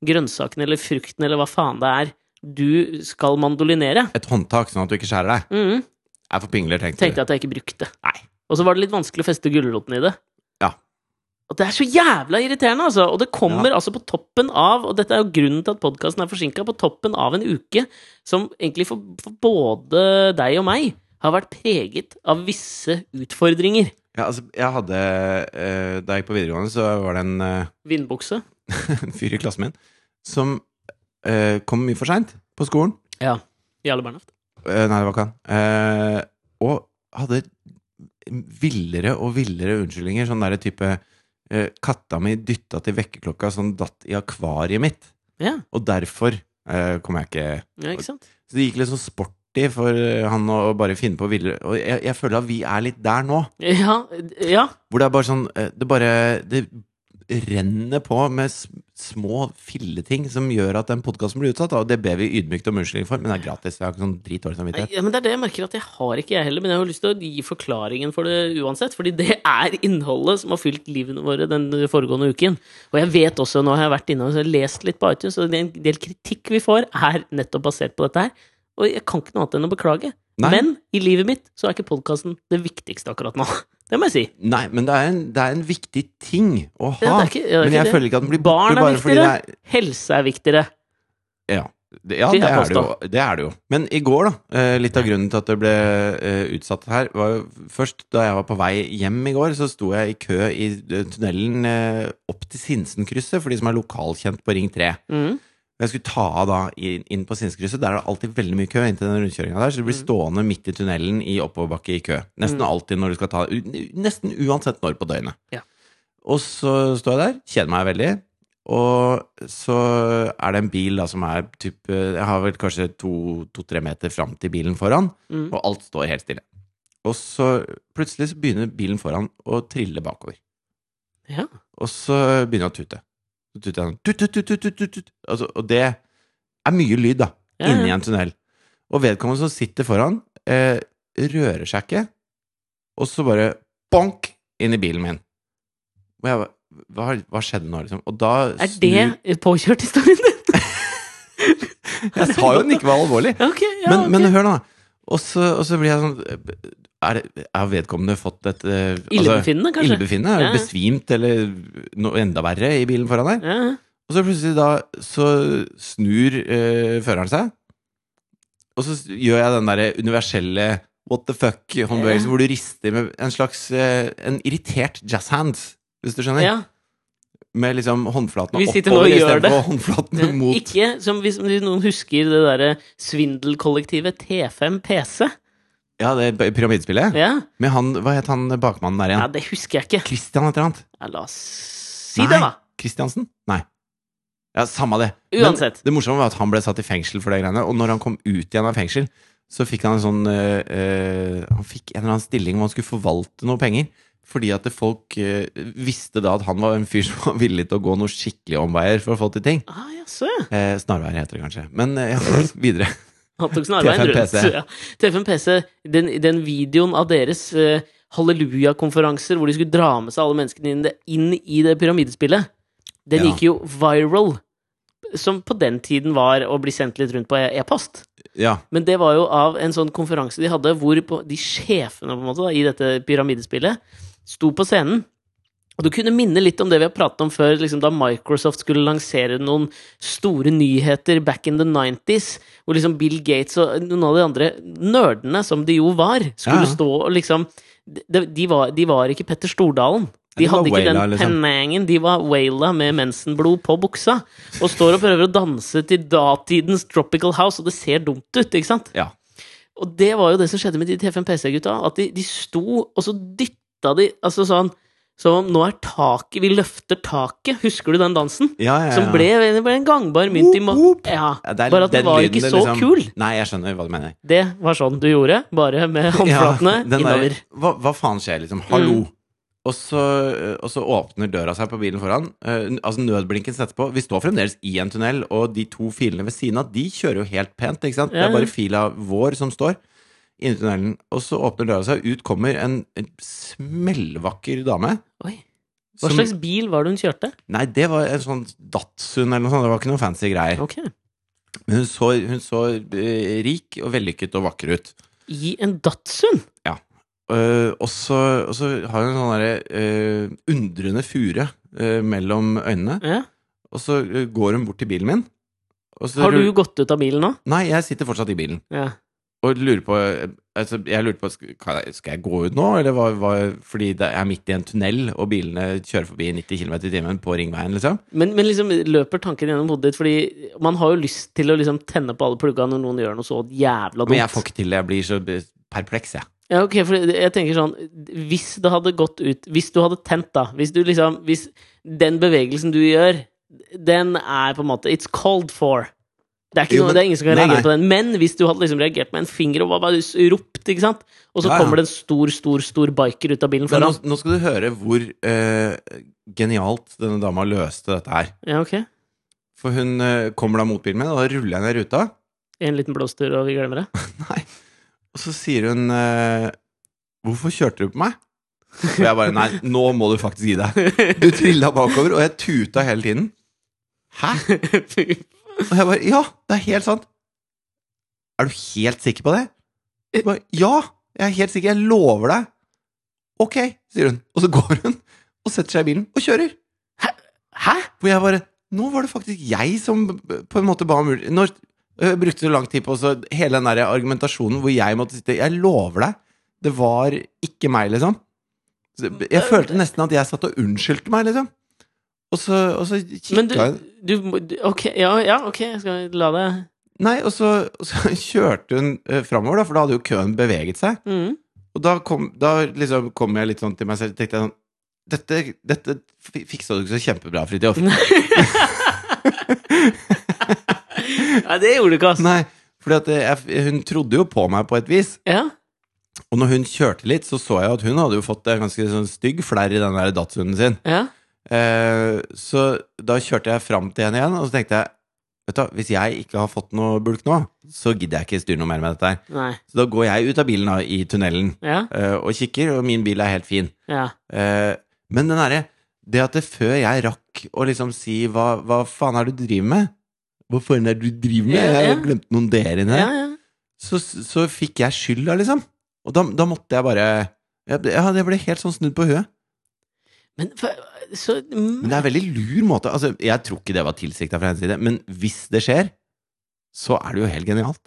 B: grønnsakene eller frukten eller hva faen det er du skal mandolinere.
A: Et håndtak, sånn at du ikke skjærer deg.
B: Mhm.
A: Er for pingler, tenkte du.
B: tenkte jeg at jeg ikke brukte. Nei. Og så var det litt vanskelig å feste gulroten i det.
A: Ja.
B: Og det er så jævla irriterende, altså! Og det kommer altså på toppen av, og dette er jo grunnen til at podkasten er forsinka, på toppen av en uke som egentlig for, for både deg og meg har vært preget av visse utfordringer.
A: Ja, altså, jeg hadde eh, Da jeg gikk på videregående, så var det en, eh,
B: Vindbukse.
A: en fyr i klassen min som eh, kom mye for seint på skolen.
B: Ja. Jarle Bernhoft.
A: Eh, nei, det var ikke han. Eh, og hadde villere og villere unnskyldninger. Sånn derre type eh, 'Katta mi dytta til vekkerklokka som datt i akvariet mitt'.
B: Ja.
A: Og derfor eh, kom jeg ikke
B: ja, ikke sant?
A: Så det gikk litt sånn sporty for eh, han å bare finne på villere Og jeg, jeg føler at vi er litt der nå.
B: Ja. ja.
A: Hvor det er bare sånn eh, Det bare Det renner på med s- små filleting som gjør at den podkasten blir utsatt. da, Og det ber vi ydmykt om unnskyldning for, men det er gratis. Jeg har ikke sånn dritdårlig samvittighet.
B: Ja, men Det er det jeg merker at jeg har ikke, jeg heller. Men jeg har jo lyst til å gi forklaringen for det uansett. Fordi det er innholdet som har fylt livene våre den foregående uken. Og jeg vet også, nå har jeg vært inne og lest litt på iTunes, og en del kritikk vi får, er nettopp basert på dette her. Og jeg kan ikke noe annet enn å beklage.
A: Nei.
B: Men i livet mitt så er ikke podkasten det viktigste akkurat nå. Det må jeg si.
A: Nei, men det er, en, det er en viktig ting å ha.
B: Ja, det er ikke- ja, det er
A: men
B: ikke
A: jeg
B: det.
A: føler ikke at den blir
B: Barn
A: borte
B: er
A: bare fordi det er
B: Helse er viktigere.
A: Ja. Det, ja, det er
B: Vil jeg
A: det,
B: påstå.
A: jo, det er det jo. Men i går, da, eh, litt av grunnen til at det ble eh, utsatt her, var jo først da jeg var på vei hjem i går, så sto jeg i kø i eh, tunnelen eh, opp til Sinsenkrysset, for de som er lokalkjent på Ring 3.
B: Mm.
A: Jeg skulle ta av da inn inn på Sinsenkrysset. Der er det alltid veldig mye kø inn til den rundkjøringa der, så du blir
B: Mm.
A: stående midt i tunnelen i oppoverbakke i kø. Nesten
B: Mm.
A: alltid når du skal ta u- Nesten uansett når på døgnet.
B: Ja.
A: Og så står jeg der, kjeder meg veldig, og så er det en bil da som er typ eh, Jeg har vel kanskje to- to-tre meter fram til bilen foran,
B: Mm.
A: og alt står helt stille. Og så plutselig så begynner bilen foran å trille bakover.
B: Ja.
A: Og så begynner han å tute. Så tuter han tut, tut, tut, tut, tut, tut. Altså, Og det er mye lyd, da.
B: Ja, ja.
A: Inni en tunnel. Og vedkommende som sitter foran, eh, rører seg ikke. Og så bare bonk inn i bilen min. Og jeg bare hva, hva skjedde nå, liksom? Og da
B: Er det påkjørt historien din?
A: Jeg sa jo den ikke var alvorlig.
B: Ja, ok, ja,
A: men,
B: ok.
A: men hør nå, da. Og så, og så blir jeg sånn er, det- Har vedkommende fått et eh, altså,
B: Illebefinnende, kanskje?
A: illebefinnende?
B: Ja, ja.
A: Besvimt, eller noe enda verre i bilen foran deg?
B: Ja, ja.
A: Og så plutselig da så snur eh, føreren seg, og så s- gjør jeg den derre universelle what the fuck-håndbevegelsen,
B: Ja.
A: hvor du rister med en slags eh, En irritert jazzhand, hvis du skjønner?
B: ja.
A: Med liksom håndflatene
B: Vi sitter nå og
A: oppover
B: gjør det.
A: istedenfor håndflatene mot
B: Eh, Ikke som hvis hvis noen husker det derre svindelkollektivet T5 PC.
A: Ja, det er pyramidespillet.
B: Ja.
A: Med han Hva het han bakmannen der
B: ja,
A: igjen?
B: det husker jeg ikke.
A: Christian et eller annet?
B: Ja, la oss si det,
A: Nei.
B: da.
A: Kristiansen? Nei. Ja, samme det.
B: Uansett.
A: Men det morsomme var at han ble satt i fengsel for det greiene, og når han kom ut igjen av fengsel, så fikk han en sånn eh, eh, Han fikk en eller annen stilling hvor han skulle forvalte noe penger. Fordi at det folk eh, visste da at han var en fyr som var villig til å gå noen skikkelige omveier for å få til ting.
B: Ah, jaså, ja.
A: Eh, snarveier heter det kanskje. Men eh, ja, videre.
B: Han tok snarveien
A: T5
B: rundt.
A: PC.
B: Ja. T5 PC, den, den videoen av deres eh, halleluja-konferanser hvor de skulle dra med seg alle menneskene inn, det, inn i det pyramidespillet, den
A: Ja.
B: gikk jo viral. Som på den tiden var å bli sendt litt rundt på e- e-post.
A: Ja.
B: Men det var jo av en sånn konferanse de hadde, hvor på, de sjefene på en måte da, i dette pyramidespillet sto på scenen. Og du kunne minne litt om det vi har pratet om før, liksom da Microsoft skulle lansere noen store nyheter back in the 90s, hvor liksom Bill Gates og noen av de andre nerdene, som de jo var,
A: Ja,
B: skulle
A: ja.
B: stå og liksom de, de, var, de var ikke Petter Stordalen. De
A: Ja, de var
B: hadde ikke den
A: Wayla, liksom.
B: pennengen. De var Wayla med mensenblod på buksa, og står og prøver å danse til datidens Tropical House, og det ser dumt ut, ikke sant?
A: ja.
B: Og det var jo det som skjedde med de T5 PC-gutta. At de, de sto, og så dytta de altså sånn Som om nå er taket Vi løfter taket. Husker du den dansen?
A: Ja, ja, ja.
B: Som ble, det ble en gangbar mynt i ma...
A: Whoop, whoop.
B: Ja,
A: Ja, det er
B: bare at den
A: den
B: var
A: lyden
B: ikke
A: det
B: så
A: liksom-
B: kul.
A: Nei, jeg skjønner hva du mener.
B: Det var sånn du gjorde, bare med håndflatene
A: den der-
B: innover. Mm.
A: hva, hva faen skjer, liksom? Hallo. Og, så, eh, og så åpner døra seg på bilen foran. Eh, n- altså Nødblinken settes på. Vi står fremdeles i en tunnel, og de to filene ved siden av, de kjører jo helt pent. ikke sant? Det
B: Ja,
A: er
B: ja.
A: bare fila vår som står inni tunnelen. Og så åpner døra seg, ut kommer en, en smellvakker dame.
B: Oi. Hva
A: som-
B: slags bil var det hun kjørte?
A: Nei, det var en sånn Datsun eller noe sånt. Det var ikke noe fancy greier.
B: Ok.
A: Men hun så, hun så eh, rik og vellykket og vakker ut.
B: I en Datsun?
A: Eh, og, så, og så har hun en sånn derre eh, undrende fure eh, mellom øynene.
B: Ja.
A: Og så eh, går hun bort til bilen min. Og så
B: Har du
A: rull-
B: gått ut av bilen nå?
A: Nei, jeg sitter fortsatt i bilen.
B: Ja.
A: Og lurer på eh, altså, Jeg lurte på sk- kan jeg- Skal jeg gå ut nå, eller hva, hva Fordi det er midt i en tunnel, og bilene kjører forbi i 90 km i timen på ringveien, liksom.
B: Men, men liksom løper tanken gjennom hodet ditt? Fordi man har jo lyst til å liksom tenne på alle pluggene når noen gjør noe så jævla dumt.
A: Men jeg får ikke til det. Jeg blir så b- perpleks, jeg.
B: Ja, ok, for det- jeg tenker sånn Hvis det hadde gått ut Hvis du hadde tent, da Hvis du liksom Hvis den bevegelsen du gjør Den er på en måte It's called for Det er, ikke
A: Jo,
B: noe,
A: men-
B: det er ingen som kan
A: nei,
B: reagere
A: nei.
B: på den Men hvis du hadde liksom reagert med en finger Og bare, bare s- ropt, ikke sant? Og så
A: Ja, ja.
B: kommer det en stor, stor, stor biker ut av bilen
A: Men nå,
B: foran
A: nå skal du høre hvor eh, genialt denne dama løste dette her.
B: Ja, ok
A: For hun eh, kommer da mot bilen min, og da ruller jeg ned ruta.
B: En liten blåstur, og vi glemmer det
A: Nei. Og så sier hun eh, Hvorfor kjørte du på meg? Og jeg bare Nei, nå må du faktisk gi deg. Du trilla bakover, og jeg tuta hele tiden. Hæ? Og jeg bare Ja, det er helt sant. Er du helt sikker på det? Jeg bare, ja, jeg er helt sikker. Jeg lover deg. Ok, sier hun. Og så går hun og setter seg i bilen og kjører.
B: Hæ?
A: Hvor jeg bare Nå var det faktisk jeg som på en måte ba om ur- Når Jeg brukte så lang tid på også hele den der argumentasjonen hvor jeg måtte sitte Jeg lover deg, det var ikke meg, liksom. Så
B: Mm.
A: Jeg følte nesten at jeg satt og unnskyldte meg, liksom. Og så, og så
B: Men du,
A: kikka hun
B: du må- du- Ok, ja, ja, ok, jeg skal la deg
A: Nei, og så, og så kjørte hun eh, framover, da, for da hadde jo køen beveget seg.
B: mm.
A: Og da kom, da liksom kom jeg litt sånn til meg selv og tenkte jeg sånn dette, dette fi- fiksa du ikke så kjempebra, Fridtjof.
B: Nei, det gjorde du ikke, altså.
A: Nei, fordi at jeg, hun trodde jo på meg på et vis.
B: Ja.
A: Og når hun kjørte litt, så så jeg at hun hadde jo fått en ganske sånn stygg flerr i den der datshunden sin.
B: ja.
A: Eh, så da kjørte jeg fram til henne igjen, og så tenkte jeg Vet du, hva, Hvis jeg ikke har fått noe bulk nå, så gidder jeg ikke styre noe mer med dette. her
B: Nei.
A: Så da går jeg ut av bilen da, i tunnelen
B: Ja.
A: eh, og kikker, og min bil er helt fin.
B: Ja.
A: Eh, men den derre Det at det før jeg rakk å liksom si hva, hva faen er det du driver med? Hva faen er det du driver med?
B: Ja,
A: Jeg
B: ja.
A: har glemt noen dere inni
B: Ja,
A: her.
B: ja.
A: Så, så fikk jeg skylda, liksom. Og da, da måtte jeg bare jeg, ble- Ja, det ble helt sånn snudd på huet.
B: Men for- så mm.
A: Men det er en veldig lur måte Altså, jeg tror ikke det var tilsikta fra hennes side, men hvis det skjer, så er det jo helt genialt.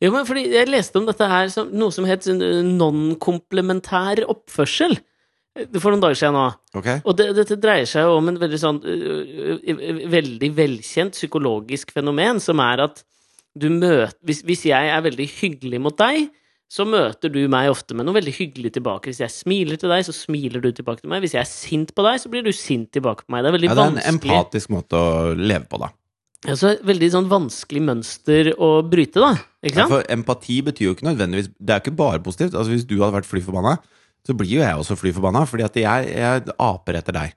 B: Jo, men fordi jeg leste om dette her som noe som het sånn, eh, non-komplementær oppførsel eh, for noen dager siden nå.
A: Ok?
B: Og det, dette dreier seg jo om en veldig sånn øh, øh, øh, veldig velkjent psykologisk fenomen, som er at du møter hvis, hvis jeg er veldig hyggelig mot deg, så møter du meg ofte med noe veldig hyggelig tilbake. Hvis jeg smiler til deg, så smiler du tilbake til meg. Hvis jeg er sint på deg, så blir du sint tilbake på meg. Det er veldig
A: Ja, det er en
B: vanskelig
A: empatisk måte å leve på, da.
B: altså, Veldig sånn vanskelig mønster å bryte, da. Ikke
A: Ja,
B: sant?
A: for empati betyr jo ikke nødvendigvis Det er jo ikke bare positivt. Altså Hvis du hadde vært fly forbanna, så blir jo jeg også fly forbanna, fordi at jeg, jeg aper etter deg.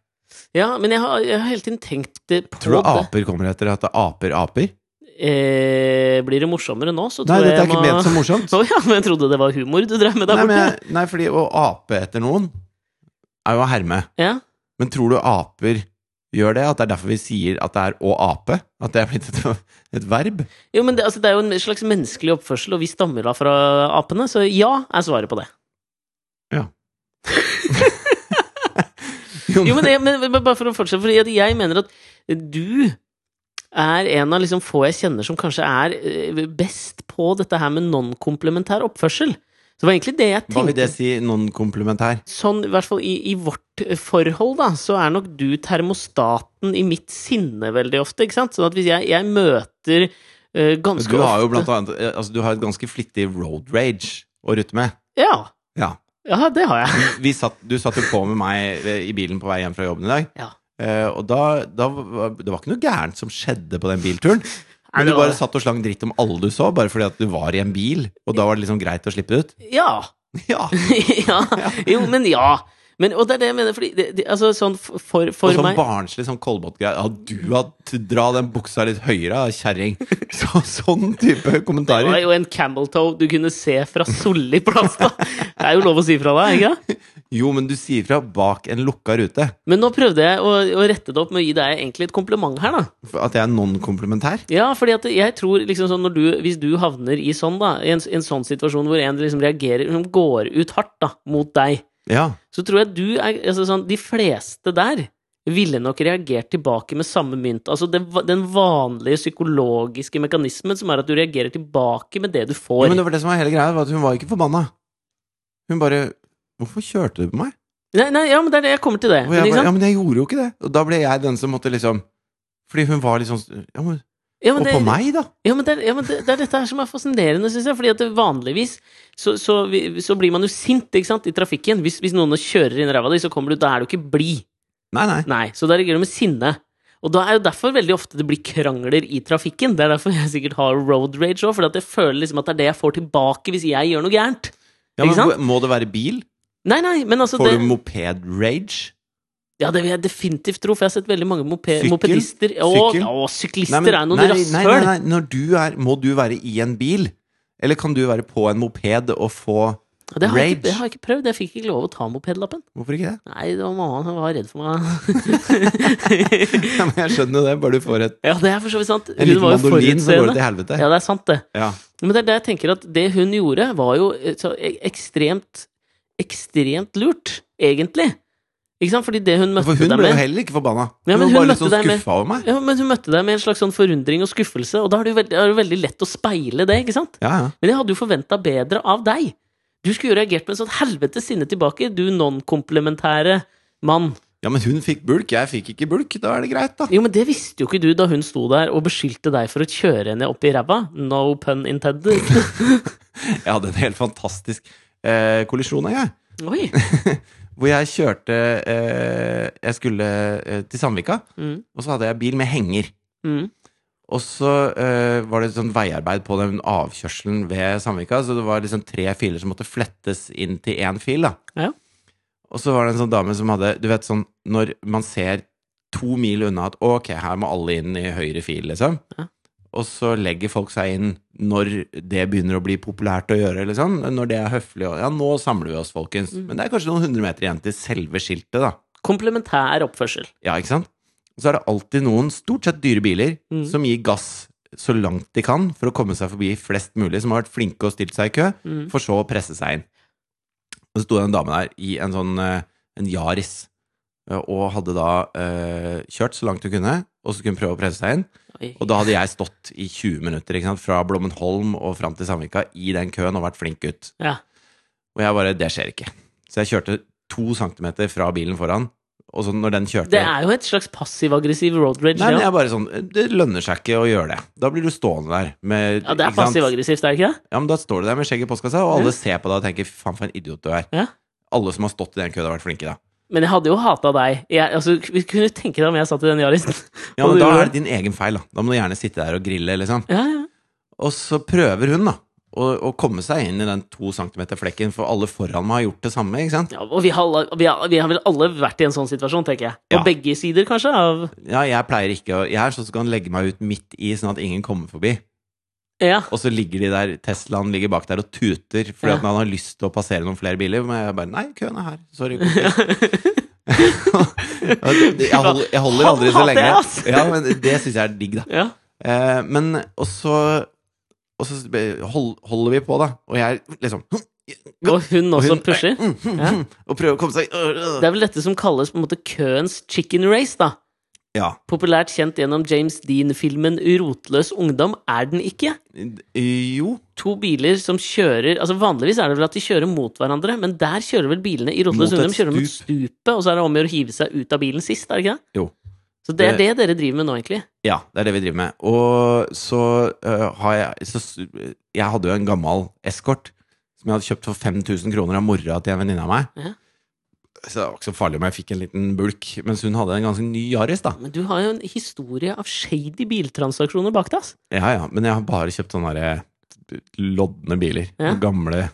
B: Ja, men jeg har, jeg har hele tiden tenkt det på
A: Tror du
B: det.
A: aper kommer etter at aper aper?
B: Eh, blir det morsommere nå, så
A: Nei,
B: tror jeg
A: dette er
B: jeg
A: ikke ment som morsomt.
B: Å ja, men jeg trodde det var humor du drev med der
A: Nei, men,
B: borte.
A: jeg- nei, fordi å ape etter noen er jo å herme.
B: Ja.
A: Men tror du aper gjør det? At det er derfor vi sier at det er å ape? At det er blitt et, et verb?
B: Jo, men det, altså, det er jo en slags menneskelig oppførsel, og vi stammer da fra apene, så ja er svaret på det. Jo, men, det, men men bare for å fortsette, fordi at jeg mener at du er en av liksom få jeg kjenner som kanskje er eh, best på dette her med non-komplementær oppførsel. Så det var egentlig det jeg
A: Hva vil
B: tenkte.
A: det si non-komplementær?
B: Sånn, i hvert fall i, i vårt eh, forhold, da, så er nok du termostaten i mitt sinne veldig ofte, ikke sant? Sånn at hvis jeg, jeg møter eh, ganske
A: Du har jo
B: ofte
A: blant annet altså, Du har et ganske flittig road rage å rutte med.
B: Ja.
A: Ja.
B: Ja, det har jeg.
A: vi satt, du satt jo på med meg eh, i bilen på vei hjem fra jobben i dag.
B: Ja.
A: Eh, og da, da var, Det var ikke noe gærent som skjedde på den bilturen.
B: Nei,
A: Men
B: det
A: du
B: var-
A: bare satt og slang dritt om alle du så, bare fordi at du var i en bil. Og da var det liksom greit å slippe det ut.
B: Ja.
A: Ja,
B: ja. Jo, men ja. Men, og det er det jeg mener, fordi det, det, altså, sånn f- for,
A: Og
B: for
A: sånn
B: meg
A: barnslig sånn Kolbotn-greie. Ja, du har t- Dra den buksa litt høyere, da, kjerring. Så, sånn type
B: Det var
A: kommentarer.
B: jo en camel toe du kunne se fra Solli plass, da. Det er jo lov å si fra deg, ikke det?
A: Jo, men du sier fra bak en lukka rute.
B: Men nå prøvde jeg å, å rette det opp med å gi deg egentlig et kompliment her, da.
A: For At jeg er non-komplementær.
B: Ja, fordi at jeg tror liksom sånn når du, hvis du havner i sånn, da, i en, en sånn situasjon hvor en liksom reagerer, som går ut hardt, da, mot deg,
A: Ja.
B: så tror jeg du er altså sånn, De fleste der ville nok reagert tilbake med samme mynt. Altså det, va- den vanlige psykologiske mekanismen som er at du reagerer tilbake med det du
A: Ja,
B: får.
A: men det var det som var hele greia, var at hun var ikke forbanna. Hun bare Hvorfor kjørte du på meg?
B: nei, nei, ja, men det er det jeg kommer til det.
A: Og
B: Men,
A: jeg
B: ikke
A: bare, ja,
B: sant?
A: men jeg gjorde jo ikke det. Og da ble jeg den som måtte liksom Fordi hun var litt sånn ja, men,
B: Ja, men
A: Og
B: det,
A: på meg, da!
B: Ja, men det, er- ja, men det, det er dette her som er fascinerende, syns jeg. Fordi at det vanligvis så, så, vi- så blir man jo sint ikke sant, i trafikken. Hvis, hvis noen kjører inn i ræva di, så kommer du, da er du ikke blid.
A: Nei, nei.
B: Nei, så da reagerer du med sinne. Og da er jo derfor veldig ofte det blir krangler i trafikken. Det er derfor jeg sikkert har road rage òg, for jeg føler liksom at det er det jeg får tilbake hvis jeg gjør noe gærent.
A: Ja,
B: Ikke sant?
A: men, må det være bil?
B: Nei, nei, men altså
A: Får
B: det,
A: du moped-rage?
B: Ja, det vil jeg definitivt tro, for jeg har sett veldig mange mope
A: Sykkel?
B: mopedister Og,
A: Sykkel?
B: og syklister
A: Nei, men-
B: er noen
A: nei, nei, nei,
B: rasshøl!
A: nei, når du er Må du være i en bil? Eller kan du være på en moped og få
B: Det har jeg ikke-
A: Rage.
B: det har jeg ikke prøvd. Jeg fikk ikke lov å ta mopedlappen.
A: Hvorfor ikke det?
B: Nei, det var mamma som var redd for meg.
A: Ja, men jeg skjønner jo det, bare du får et,
B: ja, det er for så vidt sant.
A: en
B: Hun
A: liten
B: var jo
A: mandolin, så går det
B: forutseende.
A: til helvete.
B: Ja, det er sant, det.
A: Ja.
B: Men det er det jeg tenker at det hun gjorde, var jo eh, så e- ekstremt Ekstremt lurt, egentlig. Ikke sant? Fordi det hun møtte
A: For hun
B: deg
A: ble jo
B: med
A: heller ikke forbanna.
B: Ja,
A: Hun
B: men
A: var
B: hun
A: bare litt
B: møtte
A: sånn
B: deg med-
A: skuffa over meg.
B: ja, men hun møtte deg med en slags sånn forundring og skuffelse, og da er det jo veldig, er det jo veldig lett å speile det. ikke sant?
A: Ja, ja.
B: Men jeg hadde jo forventa bedre av deg. Du skulle jo reagert med en sånn helvete sinne tilbake, du non-komplementære mann.
A: ja, men hun fikk bulk, jeg fikk ikke bulk. Da er det greit, da.
B: Jo, men det visste jo ikke du da hun sto der og beskyldte deg for å kjøre henne opp i ræva. No pun intended.
A: Jeg hadde en helt fantastisk eh, kollisjon, jeg.
B: Oi!
A: Hvor jeg kjørte eh, Jeg skulle eh, til Sandvika,
B: Mm,
A: og så hadde jeg bil med henger.
B: mm,
A: Og så eh, var det sånn veiarbeid på den avkjørselen ved Sandvika, så det var liksom tre filer som måtte flettes inn til én fil, da.
B: Ja.
A: Og så var det en sånn dame som hadde Du vet sånn når man ser to mil unna at ok, her må alle inn i høyre fil, liksom.
B: Ja.
A: Og så legger folk seg inn når det begynner å bli populært å gjøre, liksom. Når det er høflig og Ja, nå samler vi oss, folkens.
B: Mm.
A: Men det er kanskje noen hundre meter igjen til selve skiltet, da.
B: Komplementær oppførsel.
A: Ja, ikke sant? Og så er det alltid noen, stort sett dyre biler,
B: Mm.
A: som gir gass så langt de kan for å komme seg forbi flest mulig som har vært flinke og stilt seg i kø,
B: Mm.
A: for så å presse seg inn. Og så sto det en dame der i en sånn eh, en Yaris, eh, og hadde da eh, kjørt så langt hun kunne, og så skulle hun prøve å presse seg inn.
B: Oi.
A: Og da hadde jeg stått i 20 minutter ikke sant? fra Blommenholm og fram til Sandvika i den køen og vært flink gutt.
B: Ja.
A: Og jeg bare Det skjer ikke. Så jeg kjørte to centimeter fra bilen foran, og så når den kjørte
B: Det er jo et slags passiv-aggressiv road rage.
A: Nei, men jeg
B: det, ja.
A: er bare sånn Det lønner seg ikke å gjøre det. Da blir du stående der med
B: ja, det er
A: ikke sant?
B: passiv-aggressivt, er det ikke det?
A: Ja, men da står du der med skjegget i postkassa, og alle
B: Ja.
A: ser på deg og tenker 'fy faen, for en idiot du er'.
B: Ja.
A: Alle som har stått i den køen, har vært flinke, da.
B: Men jeg hadde jo hata deg. Jeg, altså, vi kunne du tenke deg om jeg satt i den Yarisen.
A: Ja,
B: Og
A: men
B: du
A: da
B: gjør
A: er det din egen feil, da. Da må du gjerne sitte der og grille, liksom.
B: Ja, ja.
A: Og så prøver hun, da, å, å komme seg inn i den to centimeter flekken, for alle foran meg har gjort det samme, ikke sant?
B: ja, og vi har, alle, vi, har, vi har vel alle vært i en sånn situasjon, tenker jeg. På
A: Ja.
B: begge sider, kanskje. Av,
A: Ja, jeg pleier ikke å Jeg er sånn som kan legge meg ut midt i, sånn at ingen kommer forbi.
B: ja.
A: Og så ligger de der, Teslaen ligger bak der og tuter fordi
B: Ja.
A: at han har lyst til å passere noen flere biler. Men jeg bare Nei, køen er her. Sorry. kompis». Ja, det- det- Jeg holder, jeg holder
B: Han
A: aldri så
B: hater
A: lenge.
B: jeg, altså. ass.
A: Ja, men det syns jeg er digg, da.
B: ja.
A: Eh, Men og så Og så hold- holder vi på, da. Og jeg liksom
B: Og hun
A: og
B: også
A: hun-
B: pusher.
A: mm, mm,
B: Ja.
A: mm, Og prøver å komme seg øh,
B: Det er vel dette som kalles på en måte køens chicken race, da.
A: Ja.
B: Populært kjent gjennom James Dean-filmen 'Rotløs ungdom' er den ikke.
A: Jo.
B: To biler som kjører altså Vanligvis er det vel at de kjører mot hverandre, men der kjører vel bilene i
A: Mot
B: Rotløs
A: et
B: ungdom kjører mot stupet, og så er det om å gjøre å hive seg ut av bilen sist, er det ikke det?
A: Jo.
B: Så det er det dere driver med nå, egentlig.
A: Ja, det er det vi driver med. Og så øh, har jeg så, s- Jeg hadde jo en gammel eskort som jeg hadde kjøpt for 5000 kroner av mora til en venninne av meg.
B: Ja.
A: Så det var ikke så farlig om jeg fikk en liten bulk, mens hun hadde en ganske ny Yaris, da.
B: Men du har jo en historie av shady biltransaksjoner bak deg, ass.
A: Ja, ja, men jeg har bare kjøpt sånne derre lodne biler.
B: Ja.
A: Gamle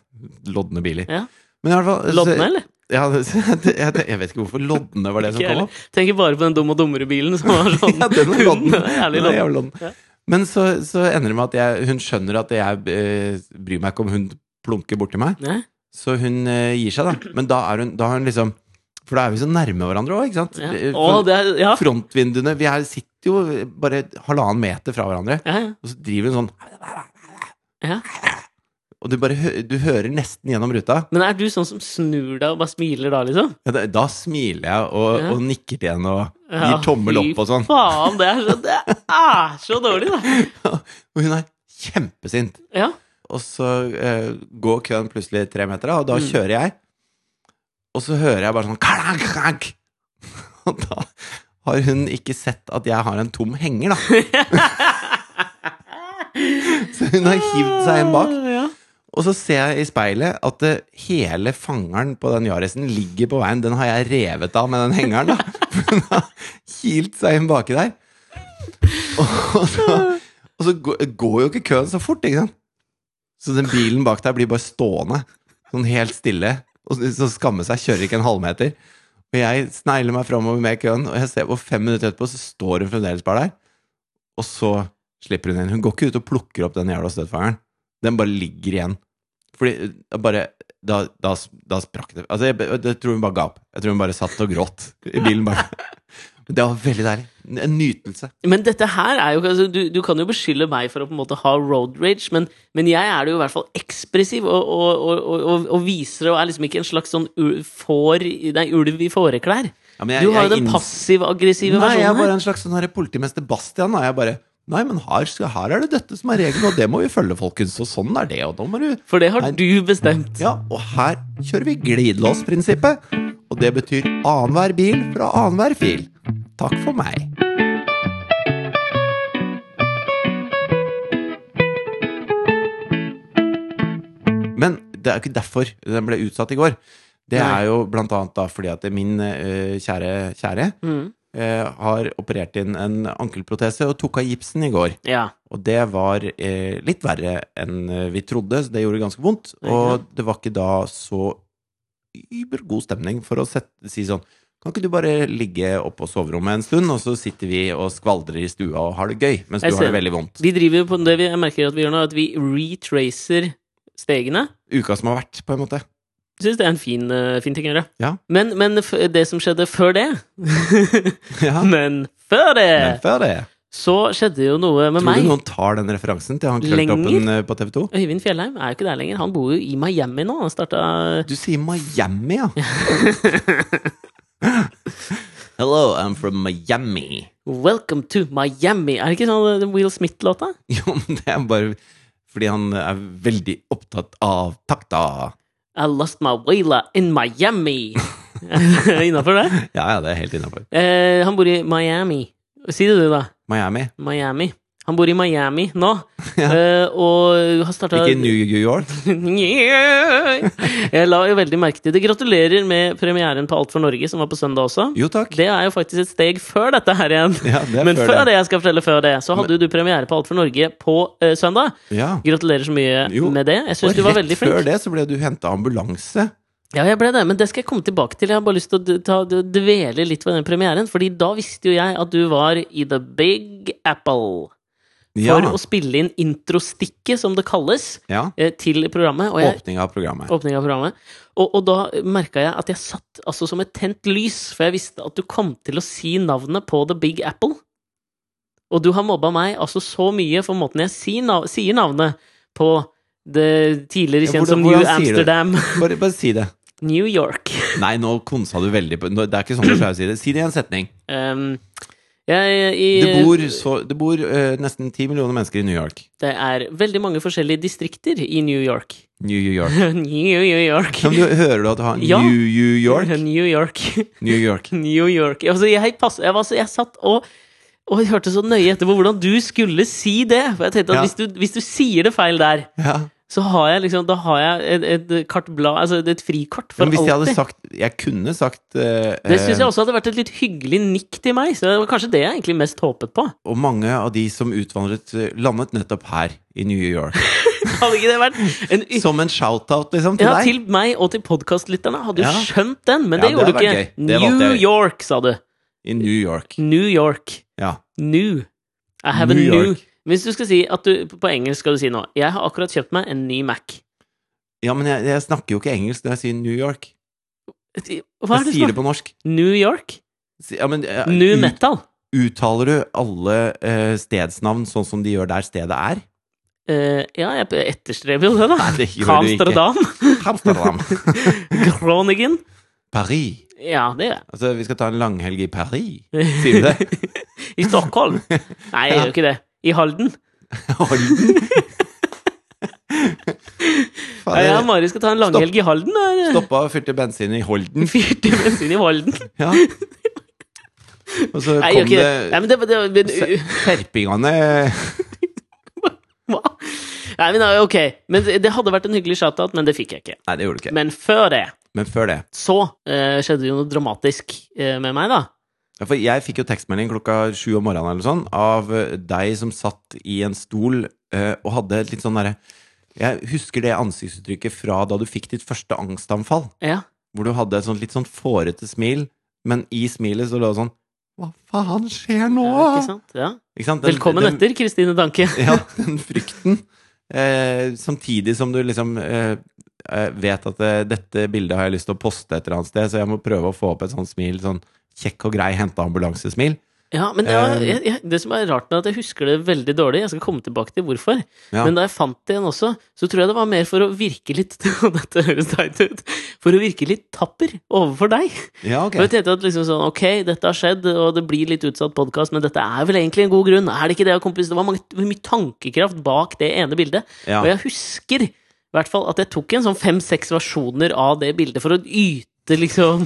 A: lodne biler.
B: Ja.
A: Men i hvert fall så-
B: Lodne, eller?
A: Ja, det- jeg, jeg vet ikke hvorfor lodne var det som
B: Ikke
A: kom
B: heller.
A: opp.
B: Tenker bare på den dum og dummere-bilen som var sånn.
A: Ja, den er lodden.
B: Den er jævlig
A: Den er
B: lodden.
A: jævlig lodden.
B: Ja.
A: Men så, så ender det med at jeg, hun skjønner at jeg eh, bryr meg ikke om hun plunker borti meg.
B: Nei?
A: Så hun eh, gir seg, da. Men da er hun, da har hun liksom For da er vi så nærme hverandre òg, ikke sant?
B: Ja.
A: Eh,
B: Å, det er, ja.
A: Frontvinduene Vi her sitter jo bare halvannen meter fra hverandre,
B: Ja, ja.
A: og så driver hun sånn
B: Ja.
A: Og du bare hø- du hører nesten gjennom ruta.
B: Men er du sånn som snur deg og bare smiler da, liksom?
A: Ja, da, da smiler jeg og,
B: Ja.
A: og nikker til henne og
B: Ja,
A: gir tommel
B: fy
A: opp og sånn.
B: Faen, det er så, det er så dårlig, da!
A: Og hun er kjempesint.
B: Ja.
A: Og så eh, går køen plutselig tre meter, da, og da
B: Mm.
A: kjører jeg. Og så hører jeg bare sånn klang, klang. Og da har hun ikke sett at jeg har en tom henger, da. så hun har hivd seg inn bak.
B: Ja.
A: Og så ser jeg i speilet at eh, hele fangeren på den Yarisen ligger på veien. Den har jeg revet av med den hengeren, da. For den har kilt seg inn baki der. Og så, og så gå- går jo ikke køen så fort, ikke sant. Så den bilen bak der blir bare stående, sånn helt stille. Og så- så skamme seg, kjører ikke en halvmeter. Og jeg snegler meg framover med køen, og jeg ser på fem minutter etterpå, så står hun fremdeles bare der. Og så slipper hun inn. Hun går ikke ut og plukker opp den jævla støtfangeren. Den bare ligger igjen. Fordi eh, bare da, da, da sprakk det. Altså, jeg, jeg tror hun bare ga opp. Jeg tror hun bare satt og gråt i bilen. Bare. Det var veldig deilig. En nytelse.
B: Men dette her er jo altså, du, du kan jo beskylde meg for å på en måte ha road rage, men, men jeg er det jo i hvert fall ekspressiv og, og, og, og- og, og viser og er liksom ikke en slags sånn ul- får i- Nei, ulv i fåreklær.
A: Ja, men jeg-
B: Du har jo
A: jeg
B: den
A: inns-
B: passiv-aggressive
A: Nei, jeg er
B: versjonen
A: bare
B: her.
A: en slags sånn her politimester Bastian. Da. Jeg bare Nei, men her, skal- her er det dette som er regelen, og det må vi følge, folkens. Og sånn er det, og nå må du
B: For det har
A: Nei.
B: du bestemt.
A: Ja, og her kjører vi glidelåsprinsippet. Og det betyr annenhver bil fra annenhver fil. Takk for meg. Men det er jo ikke derfor den ble utsatt i går. Det
B: Nei.
A: er jo blant annet da fordi at min eh, kjære kjære
B: Mm.
A: eh, har operert inn en ankelprotese og tok av gipsen i går.
B: Ja.
A: Og det var eh, litt verre enn eh, vi trodde, så det gjorde ganske vondt.
B: Ja.
A: Og det var ikke da så übergod stemning for å sette, si sånn Kan ikke du bare ligge oppe på soverommet en stund, og så sitter vi og skvaldrer i stua og har det gøy, mens
B: Jeg
A: du har det
B: ser.
A: veldig vondt?
B: Vi driver på det vi jeg merker at vi gjør nå, at vi retracer stegene.
A: Uka som har vært, på en måte.
B: Syns det er en fin, eh, fin ting å gjøre.
A: Ja.
B: Men, men f- det som skjedde før det
A: Ja.
B: Men før
A: Men
B: det
A: før det
B: så skjedde jo noe med
A: Tror
B: meg.
A: du noen tar den referansen til han krølltoppen eh, på TV 2?
B: Øyvind Fjellheim er jo ikke der lenger. Han bor jo i Miami nå. Han uh, starta
A: Du sier Miami, ja. Hello, I'm from Miami.
B: Welcome to Miami. Er det ikke sånn eh, Will Smith-låta?
A: Jo, men det er bare fordi han er veldig opptatt av takta.
B: I lost my wayla in Miami. Innafor det?
A: Ja, ja, det er helt innafor.
B: Eh, han bor i Miami. Si det, du, da.
A: Miami.
B: Miami. Han bor i Miami nå,
A: Ja.
B: eh, og har starta
A: Ikke New York.
B: Jeg la jo veldig merke til det. Gratulerer med premieren på Alt for Norge, som var på søndag også.
A: Jo takk.
B: Det er jo faktisk et steg før dette her igjen.
A: Ja, det er
B: Men før det jeg skal fortelle før det, så hadde jo du premiere på Alt for Norge på eh, søndag.
A: Ja.
B: Gratulerer så mye
A: Jo,
B: med det. Jeg
A: Og
B: syns du var
A: rett
B: veldig flink.
A: før det så ble du henta ambulanse.
B: Ja, jeg ble det, men det skal jeg komme tilbake til. Jeg har bare lyst til å d- ta, d- dvele litt ved den premieren, Fordi da visste jo jeg at du var i The Big Apple
A: Ja.
B: for å spille inn introstikket, som det kalles,
A: ja.
B: eh, til programmet. Og jeg,
A: Åpning av programmet.
B: åpning av programmet. Og, og da merka jeg at jeg satt altså som et tent lys, for jeg visste at du kom til å si navnet på The Big Apple. Og du har mobba meg altså så mye for måten jeg sier, nav sier navnet på det tidligere
A: Ja,
B: kjent
A: hvordan-
B: som New
A: hvordan sier du det?
B: Amsterdam,
A: Bare, bare si det.
B: New York.
A: Nei, nå konsa du veldig på nå- Det er ikke sånn du pleier å si det. Si det i en setning.
B: Um, jeg, i,
A: Det bor, så, det bor eh, nesten ti millioner mennesker i New York.
B: det er veldig mange forskjellige distrikter i New York.
A: New York.
B: New York.
A: Kan du, hører du at du har
B: Ja.
A: New York?
B: New York.
A: New York.
B: New York. Altså, jeg, pass, jeg, var, så- jeg satt og, og jeg hørte så nøye etter på hvordan du skulle si det. For jeg tenkte at
A: Ja.
B: hvis, du, hvis du sier det feil der,
A: Ja.
B: så har jeg liksom Da har jeg et, et carte blanc, altså et frikort for
A: Men hvis jeg hadde
B: alltid.
A: sagt Jeg kunne sagt eh,
B: Det syns jeg
A: eh,
B: også hadde vært et litt hyggelig nikk til meg. Så det var kanskje det jeg egentlig mest håpet på.
A: eh, Og mange av de som utvandret, eh, landet nettopp her i New York.
B: Hadde ikke det vært en y-
A: Som en shout-out, liksom, til
B: ja,
A: deg.
B: til meg og til podkastlytterne hadde jo
A: Ja.
B: skjønt den, men
A: Ja,
B: det
A: det
B: gjorde du
A: hadde
B: ikke.
A: vært gøy. Det valgte
B: New
A: jeg.
B: York, sa du.
A: I New York.
B: New York.
A: Ja.
B: New. I have
A: New
B: a new
A: York.
B: Hvis du skal si at du På engelsk skal du si nå Jeg har akkurat kjøpt meg en ny Mac.
A: ja, men jeg, jeg snakker jo ikke engelsk når jeg sier New York.
B: Hva er
A: jeg
B: det
A: sier
B: som
A: det på norsk.
B: New York?
A: Si- Ja, men, eh,
B: New
A: ut-
B: metal?
A: uttaler du alle eh, stedsnavn sånn som de gjør der stedet er?
B: Eh, ja, jeg etterstreber jo det, da.
A: Nei, det gjør du ikke.
B: Amsterdam.
A: Amsterdam.
B: Groningen.
A: Paris.
B: Ja, det gjør jeg.
A: Altså, vi skal ta en langhelg i Paris. Sier du det?
B: I Stockholm. Nei, jeg gjør jo ikke det. I Halden.
A: Halden?
B: Ja, jeg og
A: Faen,
B: Mari skal ta en
A: Stopp.
B: langhelg i Halden.
A: jeg
B: da.
A: stoppa og fylte bensin i Holden.
B: Fyrte bensin i Halden.
A: Ja. Og så
B: Nei, jeg
A: kom
B: gjør ikke det. Nei,
A: det
B: men det, det, men, uh,
A: serpingene
B: Hva? Nei, men ja, ok. Men det- det hadde vært en hyggelig shoutout, men det fikk jeg ikke.
A: Nei, det gjorde du ikke.
B: Men før det
A: Men før det.
B: så eh, skjedde det jo noe dramatisk eh, med meg, da.
A: Ja, For jeg fikk jo tekstmelding klokka sju om morgenen eller sånn av eh, deg som satt i en stol eh, og hadde et litt sånn derre Jeg husker det ansiktsuttrykket fra da du fikk ditt første angstanfall.
B: Ja.
A: Hvor du hadde et sånt litt sånn fårete smil, men i smilet så lå det sånn Hva faen skjer nå?
B: ja ikke sant? Ja.
A: Ikke sant? Den-
B: Velkommen
A: den-
B: etter, Kristine Danke.
A: Ja, den frykten. Eh, samtidig som du liksom eh, eh, vet at eh, dette bildet har jeg lyst til å poste et eller annet sted, så jeg må prøve å få opp et sånt smil. Sånn kjekk og grei henta ambulansesmil.
B: Ja, men ja,
A: Eh,
B: jeg, jeg, Det som er rart, med at jeg husker det veldig dårlig. Jeg skal komme tilbake til hvorfor.
A: Ja.
B: Men da jeg fant det igjen også, så tror jeg det var mer for å virke litt og Dette høres teit ut. For å virke litt tapper overfor deg.
A: Ja, ok.
B: Og jeg tenkte at liksom sånn, ok, dette har skjedd, og det blir litt utsatt podkast, men dette er vel egentlig en god grunn? Er det ikke det, kompis? Det var mange, mye tankekraft bak det ene bildet.
A: Ja.
B: Og jeg husker i hvert fall at jeg tok en sånn fem-seks versjoner av det bildet for å yte liksom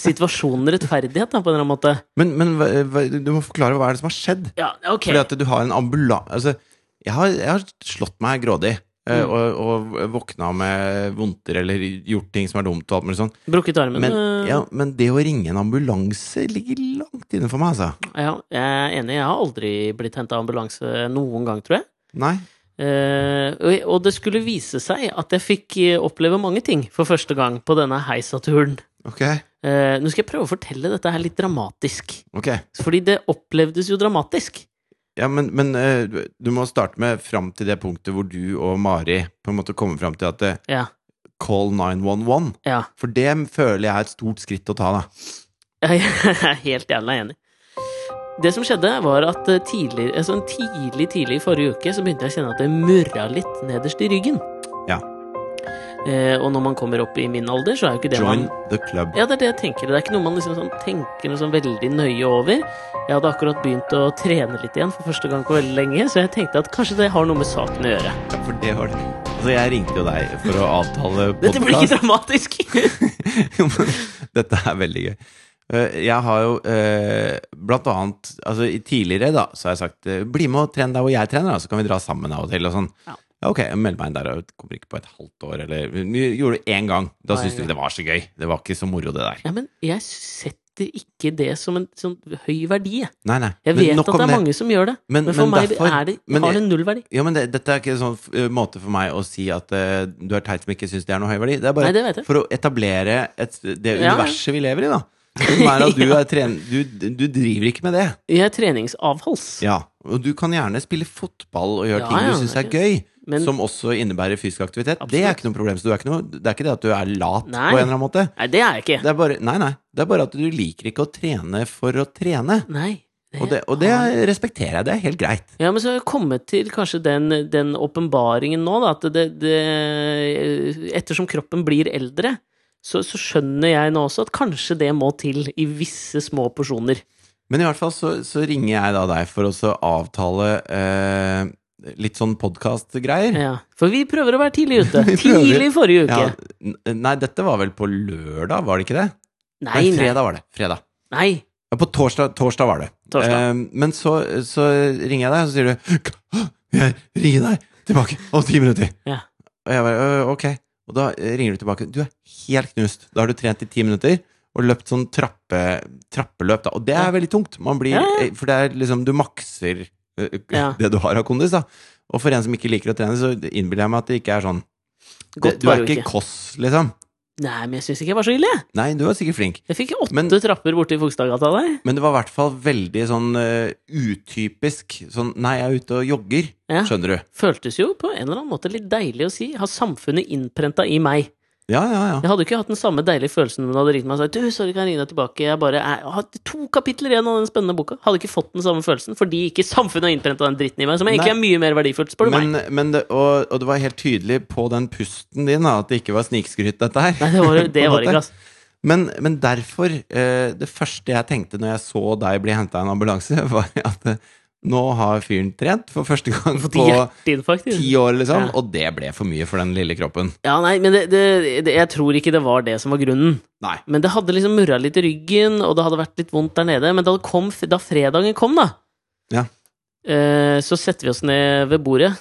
B: situasjonen rettferdighet, da, på en eller annen måte.
A: Men, men hva, hva, du må forklare hva er det som har skjedd.
B: Ja, ok.
A: Fordi at du har en ambulan... Altså, jeg har, jeg har slått meg grådig. eh,
B: Mm.
A: Og, og våkna med vondter eller gjort ting som er dumt. og alt mulig sånn.
B: Brukket armen.
A: Men,
B: øh,
A: ja, men det å ringe en ambulanse ligger langt inne for meg, altså.
B: Ja, jeg er enig. Jeg har aldri blitt henta ambulanse noen gang, tror jeg.
A: Nei.
B: Eh, og- og det skulle vise seg at jeg fikk eh, oppleve mange ting for første gang på denne heisaturen.
A: Ok.
B: Eh, nå skal jeg prøve å fortelle dette her litt dramatisk.
A: ok.
B: Fordi det opplevdes jo dramatisk.
A: Ja, men, men eh, du- du må starte med fram til det punktet hvor du og Mari på en måte kommer fram til at eh,
B: Ja.
A: call 911.
B: ja.
A: For det føler jeg er et stort skritt å ta, da.
B: Jeg er helt jævla enig. Det som skjedde, var at eh, tidlig, eh, sånn tidlig tidlig i forrige uke så begynte jeg å kjenne at det murra litt nederst i ryggen.
A: Ja.
B: Eh, og når man kommer opp i min alder, så er jo ikke det
A: Join
B: man
A: the club.
B: Ja, det er det jeg tenker. Det er ikke noe man liksom sånn tenker noe sånn veldig nøye over. Jeg hadde akkurat begynt å trene litt igjen for første gang på veldig lenge, så jeg tenkte at kanskje det har noe med saken å gjøre.
A: Ja, for det var det. Altså, jeg ringte jo deg for å avtale
B: Dette blir
A: podcast.
B: ikke dramatisk!
A: Jo, men Dette er veldig gøy. Eh, Jeg har jo eh, blant annet altså, i- Tidligere da, så har jeg sagt eh, bli med og tren der hvor jeg trener, da, så kan vi dra sammen av og til. Og sånn.
B: Ja.
A: Ja, ok, jeg melder meg inn der og kommer ikke på et halvt år. Eller, vi gjorde det én gang. Da
B: Nei,
A: syntes vi
B: ja.
A: det var så gøy. Det var ikke så moro, det der.
B: Ja, men jeg setter ikke det som en sånn høy verdi. jeg.
A: Nei, nei.
B: Jeg
A: Men
B: vet
A: nok
B: at
A: om
B: det er mange som gjør det,
A: Men-
B: men, for
A: men
B: meg
A: derfor-
B: er det,
A: men
B: har
A: jeg-
B: det null verdi.
A: Ja, men det, Dette er ikke en sånn eh, måte for meg å si at eh, du er teit som ikke syns det er noe høy verdi. Det er bare
B: Nei, det vet jeg.
A: for å etablere et, det
B: Ja.
A: universet vi lever i, da. Som er at du, er tren du, du driver ikke med det.
B: Jeg er treningsavhals.
A: Ja, og du kan gjerne spille fotball og gjøre
B: Ja,
A: ting
B: ja,
A: du syns er
B: det-
A: gøy,
B: men-
A: som også innebærer fysisk aktivitet. Det
B: Absolutt.
A: er ikke noe problem. Så du er ikke noe, det er ikke det at du er lat
B: Nei.
A: på en eller annen måte.
B: Nei, det er jeg ikke.
A: Det er bare, nei, nei. Det er bare at du liker ikke å trene for å trene.
B: Nei. det
A: Og det, og det
B: har-
A: respekterer jeg. Det er helt greit.
B: Ja, men så har jeg kommet til kanskje den den åpenbaringen nå, da, at det, det Ettersom kroppen blir eldre, så, så skjønner jeg nå også at kanskje det må til i visse små porsjoner.
A: Men i hvert fall så, så ringer jeg da deg for å så avtale eh, litt sånn podkast-greier.
B: Ja. For vi prøver å være tidlig ute.
A: Vi prøver.
B: Tidlig i forrige uke.
A: Ja, n- nei, dette var vel på lørdag, var det ikke det?
B: Nei,
A: nei
B: nei.
A: fredag var det. Fredag.
B: nei.
A: Ja, På torsdag, torsdag var det.
B: Torsdag.
A: Eh, men så, så ringer jeg deg, og så sier du «Hå! Jeg ringer deg tilbake om ti minutter.
B: Ja.
A: Og jeg bare «Øh, ok. Og da eh, ringer du tilbake. Du er helt knust. Da har du trent i ti minutter og løpt sånn trappe, trappeløp, da. Og det er
B: Ja.
A: veldig tungt. Man blir,
B: Ja, ja.
A: eh, For det er liksom Du makser eh,
B: Ja.
A: det du har av kondis, da. Og for en som ikke liker å trene, så innbiller jeg meg at det ikke er sånn det,
B: Godt
A: Du er
B: forrige
A: ikke
B: uke.
A: Kåss, liksom.
B: Nei, men jeg syns ikke jeg var så ille. jeg.
A: Nei, du er sikkert flink.
B: Jeg fikk åtte
A: Men-
B: trapper borti Fogstadgata der.
A: Men det var i hvert fall veldig sånn eh, utypisk sånn Nei, jeg er ute og jogger,
B: Ja.
A: skjønner du.
B: Føltes jo på en eller annen måte litt deilig å si. Har samfunnet innprenta i meg?
A: Ja, ja, ja.
B: Jeg hadde ikke hatt den samme deilige følelsen om hun hadde ringt meg og sagt Du, sorry, kan jeg ringe deg tilbake? Jeg bare jeg har to kapitler igjen av den spennende boka. Hadde ikke fått den samme følelsen fordi ikke samfunnet har innprenta den dritten i meg, som egentlig
A: Nei.
B: er mye mer verdifullt, spør du meg.
A: Men, men det, og, og det var helt tydelig på den pusten din da, at det ikke var snikskryt, dette her.
B: Nei, det var
A: På
B: det
A: en
B: var
A: måte.
B: ikke, altså.
A: Men, men derfor eh, Det første jeg tenkte når jeg så deg bli henta av en ambulanse, var at eh, nå har fyren trent for første gang
B: Fått
A: på
B: hjerteinfarkt.
A: ti år, liksom.
B: Ja.
A: Og det ble for mye for den lille kroppen.
B: Ja, nei, men det, det, det, jeg tror ikke det var det som var grunnen.
A: Nei.
B: Men det hadde liksom murra litt i ryggen, og det hadde vært litt vondt der nede. Men da, det kom, da fredagen kom, da,
A: Ja.
B: eh, så setter vi oss ned ved bordet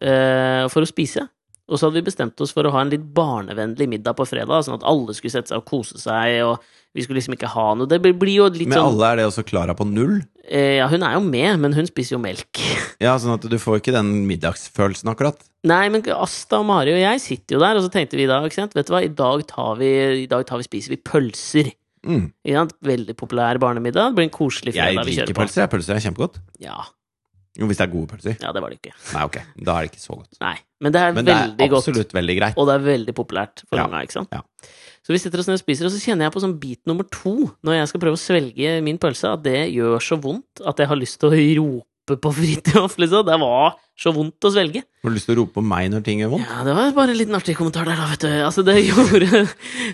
B: eh, for å spise. Og så hadde vi bestemt oss for å ha en litt barnevennlig middag på fredag, sånn at alle skulle sette seg og kose seg, og vi skulle liksom ikke ha noe Det blir blir jo litt
A: Med
B: sånn
A: alle er det også Klara på null.
B: eh, Ja, hun er jo med, men hun spiser jo melk.
A: Ja, Sånn at du får ikke den middagsfølelsen, akkurat.
B: Nei, men Asta og Mari og jeg sitter jo der, og så tenkte vi da, ikke sant, vet du hva, i dag tar vi, i dag tar vi spiser vi pølser.
A: Mm.
B: Ikke sant? Veldig populær barnemiddag. Det blir en koselig
A: Jeg
B: fredag vi
A: liker
B: kjører på.
A: pølser. Jeg pølser er kjempegodt.
B: Ja,
A: Jo, hvis det er gode pølser.
B: ja, det var det ikke.
A: Nei, ok. Da er det ikke så godt.
B: Nei, men det er
A: Men det
B: veldig
A: er
B: godt,
A: absolutt veldig greit.
B: og det er veldig populært for
A: Ja.
B: unga, ikke sant?
A: Ja.
B: Så vi sitter oss ned og spiser, og så kjenner jeg på sånn bit nummer to, når jeg skal prøve å svelge min pølse, at det gjør så vondt at jeg har lyst til å rope på Fridtjof, liksom. Det var så vondt å svelge.
A: Har du lyst til å rope på meg når ting gjør vondt?
B: Ja, det var bare en liten artig kommentar der, da, vet du. Altså, det gjorde,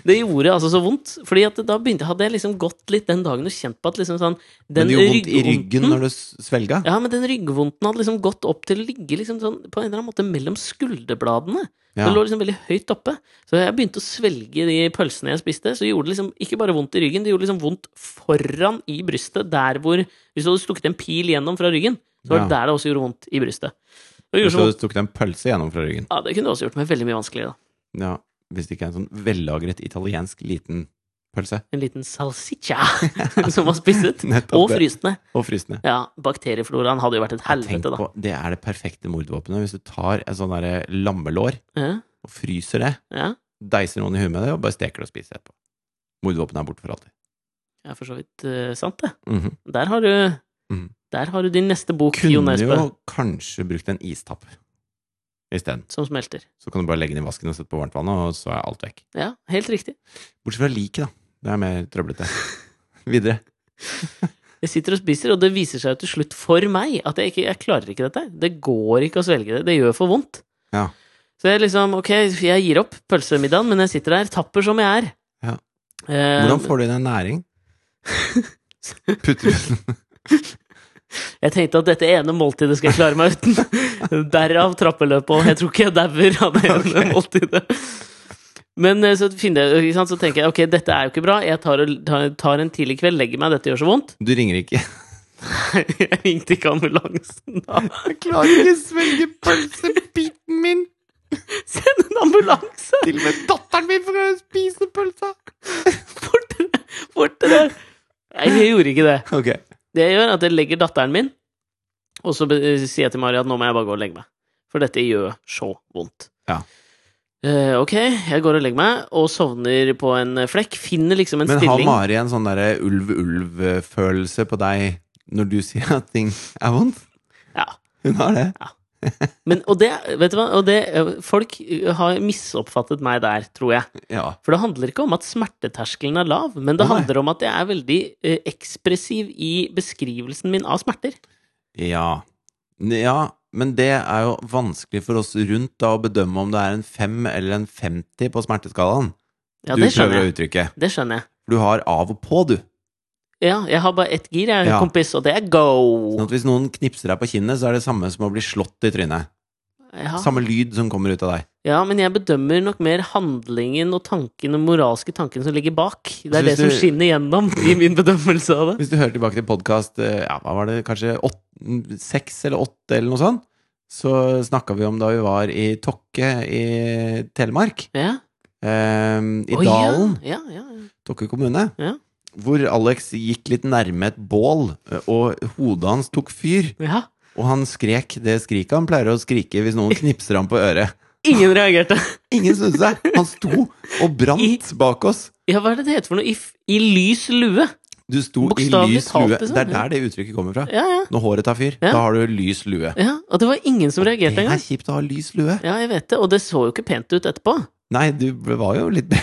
B: det gjorde altså så vondt. Fordi at da begynte, hadde jeg liksom gått litt den dagen og kjent på at liksom sånn
A: Men
B: den Mm.
A: det gjorde vondt i ryggen
B: ryggvondten-
A: når du s- svelga?
B: Ja, men den ryggvondten hadde liksom gått opp til å ligge liksom sånn, på en eller annen måte mellom skulderbladene.
A: Ja.
B: Det lå liksom veldig høyt oppe. Så jeg begynte å svelge de pølsene jeg spiste. Så gjorde det liksom ikke bare vondt i ryggen, det gjorde liksom vondt foran i brystet. Der hvor Hvis du hadde stukket en pil gjennom fra ryggen, så var det der det også gjorde vondt i brystet. Og det gjorde så
A: Så
B: vondt.
A: du tok deg en pølse gjennom fra ryggen?
B: Ja, det kunne du også gjort meg veldig mye vanskeligere, da.
A: Ja, Hvis det ikke er en sånn vellagret italiensk liten pølse.
B: En liten salsiccia som var spisset. Og
A: Nettopp det.
B: fryst ned.
A: Og frysende.
B: Ja, bakteriefloraen hadde jo vært et
A: Tenk
B: helvete, da.
A: på, det er det perfekte mordvåpenet. Hvis du tar en sånn derre lammelår
B: Ja,
A: og fryser det,
B: ja,
A: deiser noen i huet med det, og bare steker det og spiser det etterpå. Mordvåpenet er borte for alltid.
B: ja, for så vidt eh, sant, det.
A: Mhm.
B: Der har du
A: Mhm.
B: Der har du din neste bok, Jon
A: Kunne
B: Espe,
A: jo kanskje brukt en istappe isteden.
B: som smelter.
A: Så kan du bare legge den i vasken og sette på varmt vann, og så er alt vekk.
B: Ja, helt riktig.
A: Bortsett fra liket, da. Det er mer trøblete. Videre.
B: Jeg sitter og spiser, og det viser seg til slutt for meg at jeg, ikke, jeg klarer ikke dette. Det går ikke å svelge det. Det gjør for vondt.
A: Ja.
B: Så jeg liksom, ok, jeg gir opp pølsemiddagen, men jeg sitter der, tapper som jeg er.
A: Ja.
B: Eh,
A: Hvordan får du i deg næring? Putter du den
B: Jeg tenkte at dette ene måltidet skal jeg klare meg uten. Derav trappeløpet, og jeg tror ikke jeg dauer av det ene
A: Ok.
B: måltidet. Men eh, så, finner jeg, ikke sant, så tenker jeg ok, dette er jo ikke bra. Jeg tar, og- tar, tar en tidlig kveld, legger meg, dette gjør så vondt.
A: Du ringer ikke.
B: Jeg ringte ikke ambulansen da.
A: Jeg klarer ikke å svelge pølsebiten min!
B: Send en ambulanse!
A: Til og med datteren min får spise pølsa!
B: Fortere! Fortere! Nei, jeg gjorde ikke det.
A: Ok.
B: Det jeg gjør, er at jeg legger datteren min, og så be- eh, sier jeg til Mari at nå må jeg bare gå og legge meg. For dette gjør så vondt.
A: Ja.
B: Eh, ok, jeg går og legger meg, og sovner på en flekk. Finner liksom en
A: Men har
B: stilling.
A: Mari en sånn derre ulv-ulv-følelse på deg når du sier at ting er vondt?
B: Ja.
A: Hun har det.
B: Men, og det, vet du hva, og det, eh, folk eh, har misoppfattet meg der, tror jeg.
A: Ja.
B: For det handler ikke om at smerteterskelen er lav, men det
A: Å, nei.
B: handler om at jeg er veldig eh, ekspressiv i beskrivelsen min av smerter.
A: Ja. ja, men det er jo vanskelig for oss rundt da å bedømme om det er en 5 eller en 50 på smerteskalaen
B: Ja,
A: du
B: det
A: prøver
B: skjønner
A: å
B: jeg.
A: uttrykke.
B: Det skjønner jeg.
A: For du har av og på, du.
B: Ja, jeg har bare ett gir, jeg,
A: Ja.
B: kompis, og det er go!
A: Sånn at hvis noen knipser deg på kinnet, så er det samme som å bli slått i trynet.
B: Ja.
A: Samme lyd som kommer ut av deg.
B: ja, men jeg bedømmer nok mer handlingen og tanken og moralske tanken som ligger bak.
A: Så
B: Det er det
A: hvis
B: som
A: du-
B: skinner gjennom i min bedømmelse av det.
A: Hvis du hører tilbake til podkast ja, hva var det, kanskje åt- seks eller åtte, eller noe sånt, så snakka vi om da vi var i Tokke i Telemark.
B: Ja.
A: Eh, I
B: Å,
A: Dalen.
B: Ja, ja, ja.
A: Tokke kommune.
B: Ja.
A: Hvor Alex gikk litt nærme et bål, og hodet hans tok fyr.
B: ja.
A: Og han skrek det skriket han pleier å skrike hvis noen knipser ham på øret.
B: Ingen reagerte.
A: Ingen snudde seg! Han sto og brant bak oss.
B: Ja, hva er det det heter for noe? I, f- i lys lue?
A: Du sto i
B: Bokstavelig
A: lys
B: talt,
A: lue.
B: liksom,
A: Det er
B: ja.
A: der det uttrykket kommer fra.
B: Ja, ja.
A: Når håret tar fyr,
B: Ja.
A: da har du lys lue.
B: ja. Og det var ingen som
A: Det
B: reagerte
A: er
B: engang.
A: kjipt å ha lys lue.
B: Ja, jeg vet det. Og det så jo ikke pent ut etterpå.
A: Nei, du var jo litt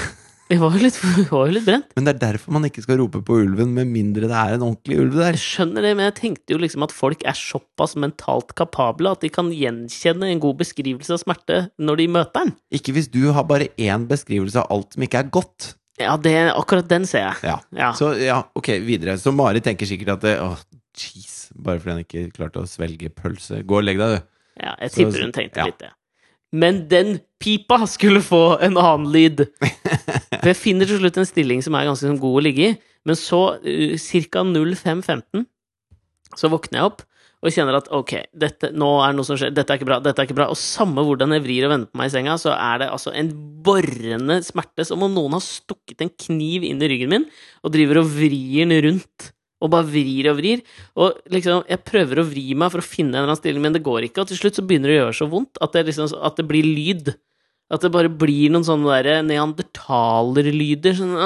B: Jeg var jo litt, jeg var jo litt brent.
A: Men det er derfor man ikke skal rope på ulven, med mindre det er en ordentlig ulv der.
B: Jeg skjønner det, men jeg tenkte jo liksom at folk er såpass mentalt kapable at de kan gjenkjenne en god beskrivelse av smerte når de møter den.
A: Ikke hvis du har bare én beskrivelse av alt som ikke er godt.
B: Ja, det, akkurat den ser jeg.
A: Ja.
B: Ja.
A: Så ja, ok, videre. Så Mari tenker sikkert at det, Åh, jeez. Bare fordi han ikke klarte å svelge pølse. Gå og legg deg, du.
B: ja, jeg
A: så-
B: tipper hun tenkte
A: ja.
B: litt det. Men den pipa skulle få en annen lyd! For jeg finner til slutt en stilling som er ganske sånn god å ligge i, men så, uh, ca. 05.15, så våkner jeg opp og kjenner at ok, dette, nå er det noe som skjer, dette er ikke bra, dette er ikke bra. Og samme hvordan jeg vrir og vender på meg i senga, så er det altså en borrende smerte, som om noen har stukket en kniv inn i ryggen min og driver og vrir den rundt. Og bare vrir og vrir. Og liksom, jeg prøver å vri meg for å finne en eller annen stilling, men det går ikke. Og til slutt så begynner det å gjøre så vondt at det, liksom, at det blir lyd. At det bare blir noen sånne derre «Ah, neandertalerlyder. Sånn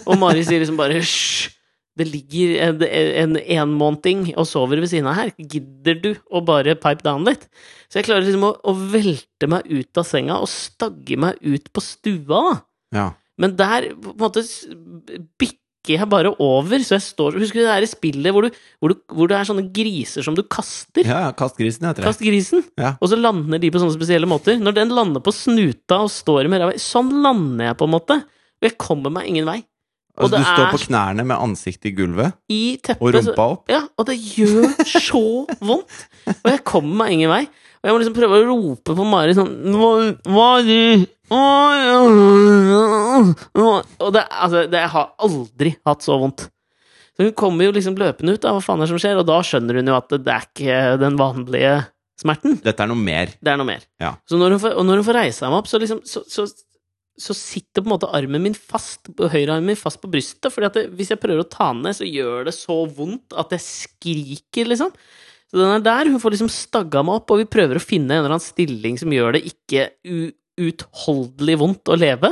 B: Og Mari sier liksom bare hysj. Det ligger en, en enmånting og sover ved siden av her. Gidder du å bare pipe down litt? Så jeg klarer liksom å, å velte meg ut av senga og stagge meg ut på stua, da.
A: Ja.
B: Men der på en måte s- bikker jeg bare over, så jeg står Husker du det der spillet hvor, du, hvor, du, hvor det er sånne griser som du kaster?
A: ja, ja kast grisen, heter det.
B: Kast grisen,
A: Ja.
B: og så lander de på sånne spesielle måter. Når den lander på snuta og står med ræva Sånn lander jeg, på en måte. Og jeg kommer meg ingen vei. og
A: Altså,
B: det
A: du står
B: er-
A: på knærne med ansiktet i gulvet
B: I
A: og
B: teppet så-
A: rumpa opp.
B: Ja, og det gjør så vondt! Og jeg kommer meg ingen vei. Og jeg må liksom prøve å rope på Mari sånn Hva- Mari! Oi, oi, oi. Og det, altså, det jeg har aldri hatt så vondt. Så hun kommer jo liksom løpende ut, da, hva faen er det som skjer? Og da skjønner hun jo at det er ikke den vanlige smerten.
A: Dette er noe mer.
B: Det er noe mer.
A: Ja.
B: Så når hun får, og når hun får reisa meg opp, så, liksom, så, så, så sitter på en måte armen min fast, høyrearmen min fast på brystet. Fordi at det, hvis jeg prøver å ta den ned, så gjør det så vondt at jeg skriker, liksom. Så den er der. Hun får liksom stagga meg opp, og vi prøver å finne en eller annen stilling som gjør det ikke uutholdelig vondt å leve.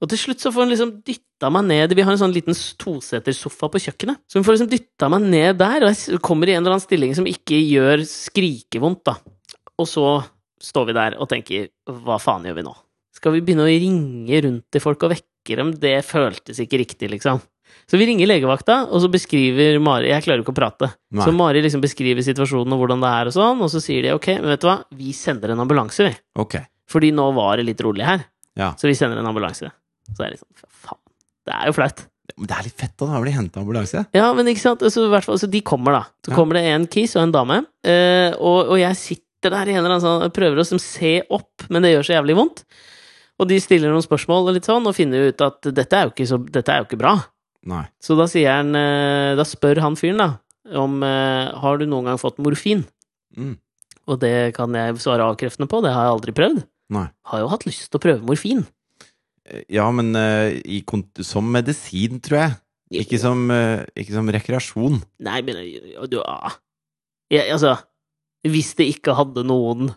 B: Og til slutt så får hun liksom dytta meg ned Vi har en sånn liten tosetersofa på kjøkkenet. Så hun får liksom dytta meg ned der, og jeg s- kommer i en eller annen stilling som ikke gjør skrikevondt, da. Og så står vi der og tenker hva faen gjør vi nå? Skal vi begynne å ringe rundt til folk og vekke dem? Det føltes ikke riktig, liksom. Så vi ringer legevakta, og så beskriver Mari Jeg klarer jo ikke å prate.
A: Nei.
B: Så Mari liksom beskriver situasjonen og hvordan det er og sånn, og så sier de ok, men vet du hva, vi sender en ambulanse, vi.
A: Ok.
B: Fordi nå var det litt rolig her.
A: Ja.
B: Så vi sender en ambulanse. Så er det liksom, fa- faen, det er jo flaut.
A: Men det er litt fett da, da blir det hentet ambulanse.
B: Ja, men ikke sant, altså, i hvert fall, så de kommer da. Så
A: Ja.
B: kommer det en kis og en dame, eh, og, og jeg sitter der i en eller annen sånn, prøver å liksom se opp, men det gjør så jævlig vondt. Og de stiller noen spørsmål og litt sånn, og finner jo ut at dette er jo ikke, så, dette er jo ikke bra.
A: Nei.
B: Så da sier han, eh, da spør han fyren da, om eh, har du noen gang fått morfin?
A: Mm.
B: Og det kan jeg svare avkreftende på, det har jeg aldri prøvd.
A: Nei.
B: Har jo hatt lyst til å prøve morfin.
A: Ja, men eh, i, kont- som medisin, tror jeg. Ikke som, eh, ikke som rekreasjon.
B: Nei, men ja, du ah. ja, Altså, hvis det ikke hadde noen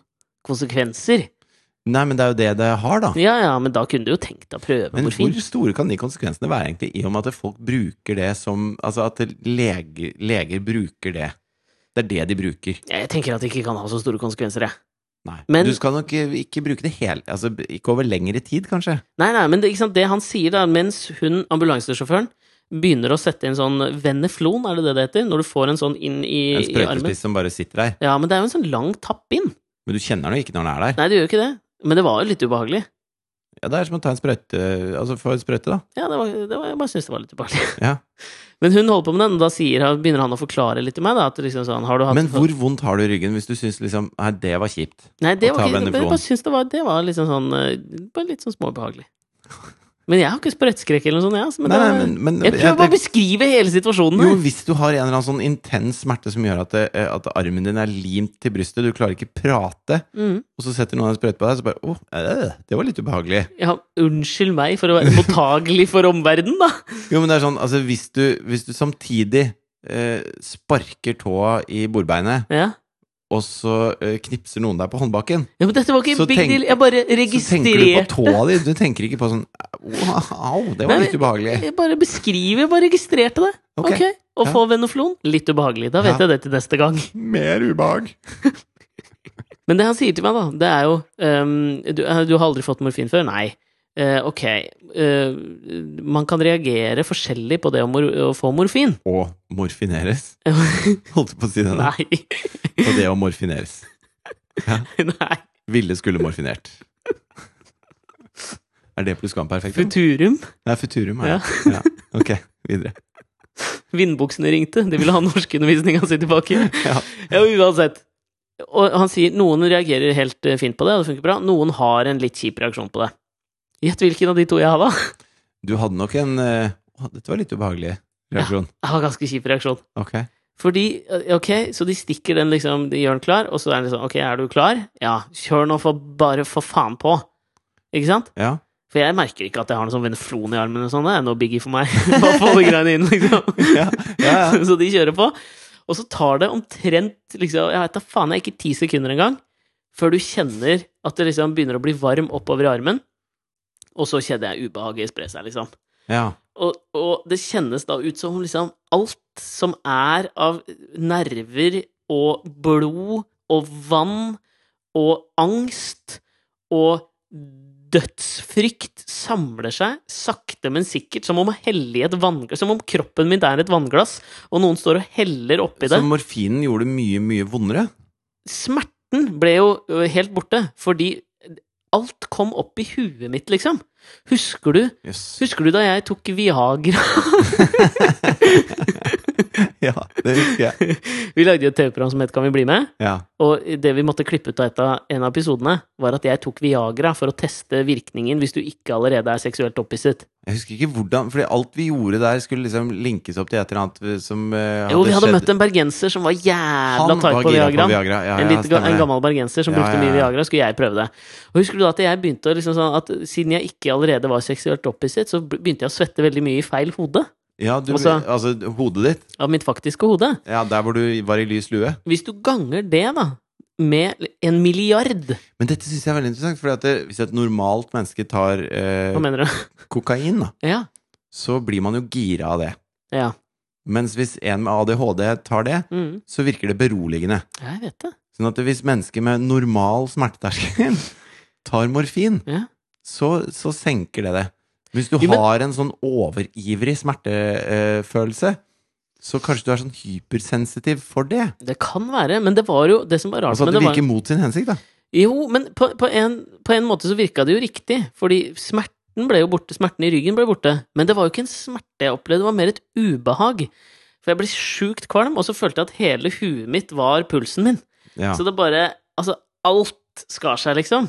B: konsekvenser
A: Nei, men det er jo det det har, da.
B: Ja ja, men da kunne du jo tenkt deg å prøve
A: Men
B: morfin.
A: hvor store kan de konsekvensene være, egentlig, i og med at folk bruker det som Altså at lege, leger bruker det. Det er det de bruker.
B: Jeg tenker at det ikke kan ha så store konsekvenser, jeg.
A: Nei.
B: Men-
A: du skal nok eh, ikke bruke det hele Altså ikke over lengre tid, kanskje.
B: Nei, nei, men det, ikke sant, det han sier, da, mens hun, ambulansesjåføren, begynner å sette inn sånn veneflon, er det det det heter? Når du får en sånn inn i,
A: En
B: i armen.
A: sprøytespiss som bare sitter der.
B: Ja, men det er jo en sånn lang tapp inn.
A: Men du kjenner den jo ikke når den er der.
B: Nei, det gjør jo ikke det. Men det var jo litt ubehagelig.
A: Ja, Det er som å ta en sprøyte Altså få en sprøyte, da.
B: Ja, det var, det var, jeg bare syntes det var litt ubehagelig.
A: Ja.
B: Men hun holder på med den, og da sier, han- begynner han å forklare litt til meg. Da, at liksom sånn, har du hatt
A: Men hvor vondt har du i ryggen hvis du syns liksom Nei, det var kjipt.
B: Nei, det
A: å
B: var
A: ta
B: ikke, jeg
A: Veneflon?
B: bare syns det var, det var liksom sånn eh, Bare litt sånn småbehagelig. Men jeg har ikke sprøyteskrekk eller noe sånt. jeg, altså, men
A: Nei,
B: det
A: nei,
B: var-
A: men, men
B: jeg prøver bare å
A: tenker-
B: beskrive hele situasjonen.
A: Jo,
B: her.
A: hvis du har en eller annen sånn intens smerte som gjør at, det, at armen din er limt til brystet, du klarer ikke prate,
B: Mm.
A: og så setter noen en sprøyte på deg, så bare åh, øh, det var litt ubehagelig.
B: Ja, unnskyld meg for å være mottagelig for omverdenen, da.
A: Jo, men det er sånn, altså hvis du, hvis du samtidig eh, sparker tåa i bordbeinet,
B: Ja.
A: og så eh, knipser noen deg på håndbaken,
B: ja, Men dette var ikke
A: Så
B: en big
A: tenk-
B: deal. Jeg bare
A: så tenker du på
B: registrerte
A: tåa di, du tenker ikke på sånn wow, det
B: Nei,
A: var
B: men-
A: litt ubehagelig.
B: Jeg bare beskriver, jeg bare registrerte det.
A: Ok.
B: Ok. Å
A: Ja.
B: få venoflon, litt ubehagelig. Da vet
A: Ja.
B: jeg det til neste gang.
A: Mer ubehag.
B: Men det han sier til meg, da, det er jo ehm, du, eh, du har aldri fått morfin før? Nei. Eh, ok, eh, man kan reagere forskjellig på det å, mor å få morfin.
A: Og morfineres. Holdt på å si det der.
B: Nei.
A: Og det å morfineres.
B: Nei.
A: Ville skulle morfinert. Er det pluss kvamperfekt? da?
B: Futurum.
A: Nei, Futurum er det. Ja. Ok, videre.
B: Vindbuksene ringte. De ville ha norskundervisninga si tilbake.
A: Ja.
B: Ja, uansett. Og han sier noen reagerer helt eh, fint på det, og det funker bra. Noen har en litt kjip reaksjon på det. Gjett hvilken av de to jeg har, da.
A: Du hadde nok en eh, Å, dette var litt ubehagelig reaksjon.
B: Jeg har ganske kjip reaksjon.
A: Ok.
B: Fordi, eh, ok, så de stikker den liksom, de gjør den klar, og så er den liksom, ok, er du klar? Ja, kjør nå for bare for faen på. Ikke sant?
A: Ja.
B: For jeg merker ikke at jeg har noe sånn veneflon i armen og sånn, det er noe biggie for meg. Bare få de greiene inn, liksom.
A: Ja, ja, ja.
B: Så de kjører på. Og så tar det omtrent, liksom, jeg vet da faen, jeg er ikke ti sekunder engang, før du kjenner at det liksom begynner å bli varm oppover i armen, og så kjenner jeg ubehaget spre seg, liksom.
A: ja.
B: Og, og det kjennes da ut som om liksom alt som er av nerver og blod og vann og angst og dødsfrykt samler seg sakte, men sikkert, som om å helle i et vannglass Som om kroppen min er et vannglass, og noen står og heller oppi det.
A: Så morfinen gjorde det mye, mye vondere.
B: Smerten ble jo ø, helt borte, fordi alt kom opp i huet mitt, liksom. Husker du
A: Jøss.
B: Husker du da jeg tok Viagra?
A: Ja, det husker jeg.
B: Vi lagde jo et TV-program som het Kan vi bli med?
A: Ja.
B: Og det vi måtte klippe ut av et av en av episodene, var at jeg tok Viagra for å teste virkningen hvis du ikke allerede er seksuelt opphisset.
A: Jeg husker ikke hvordan Fordi alt vi gjorde der, skulle liksom linkes opp til et eller annet som eh,
B: Jo, vi hadde
A: skjedd.
B: møtt en bergenser som var jævla
A: Han
B: tight
A: var
B: på
A: gira
B: Viagra.
A: Ja,
B: En,
A: ja,
B: lite, ga-
A: stemmer
B: en
A: det.
B: gammel bergenser som
A: Ja,
B: brukte
A: ja,
B: mye
A: ja.
B: Viagra, skulle jeg prøve det. Og husker du da at jeg begynte å liksom sånn at siden jeg ikke allerede var seksuelt opphisset, så begynte jeg å svette veldig mye i feil hode
A: Ja, du,
B: Altså-
A: altså hodet ditt.
B: av mitt faktiske hode.
A: Ja, der hvor du var i lys lue.
B: Hvis du ganger det, da, med en milliard,
A: Men dette syns jeg er veldig interessant, for hvis et normalt menneske tar eh,
B: hva mener du?
A: kokain, da,
B: Ja.
A: så blir man jo gira av det.
B: Ja.
A: Mens hvis en med ADHD tar det,
B: Mm.
A: så virker det beroligende.
B: Jeg vet det.
A: Sånn at hvis mennesker med normal smerteterskel tar morfin,
B: Ja.
A: så, så senker det det. Hvis du
B: Jo, men-
A: har en sånn overivrig smertefølelse, så kanskje du er sånn hypersensitiv for det.
B: Det kan være, men det var jo det som var rart
A: Altså
B: men
A: at det
B: det var,
A: virker mot sin hensikt, da.
B: Jo, men på, på, en, på en måte så virka det jo riktig, fordi smerten ble jo borte, smerten i ryggen ble borte, men det var jo ikke en smerte jeg opplevde, det var mer et ubehag. For jeg ble sjukt kvalm, og så følte jeg at hele huet mitt var pulsen min.
A: Ja.
B: Så det bare Altså, alt skar seg, liksom.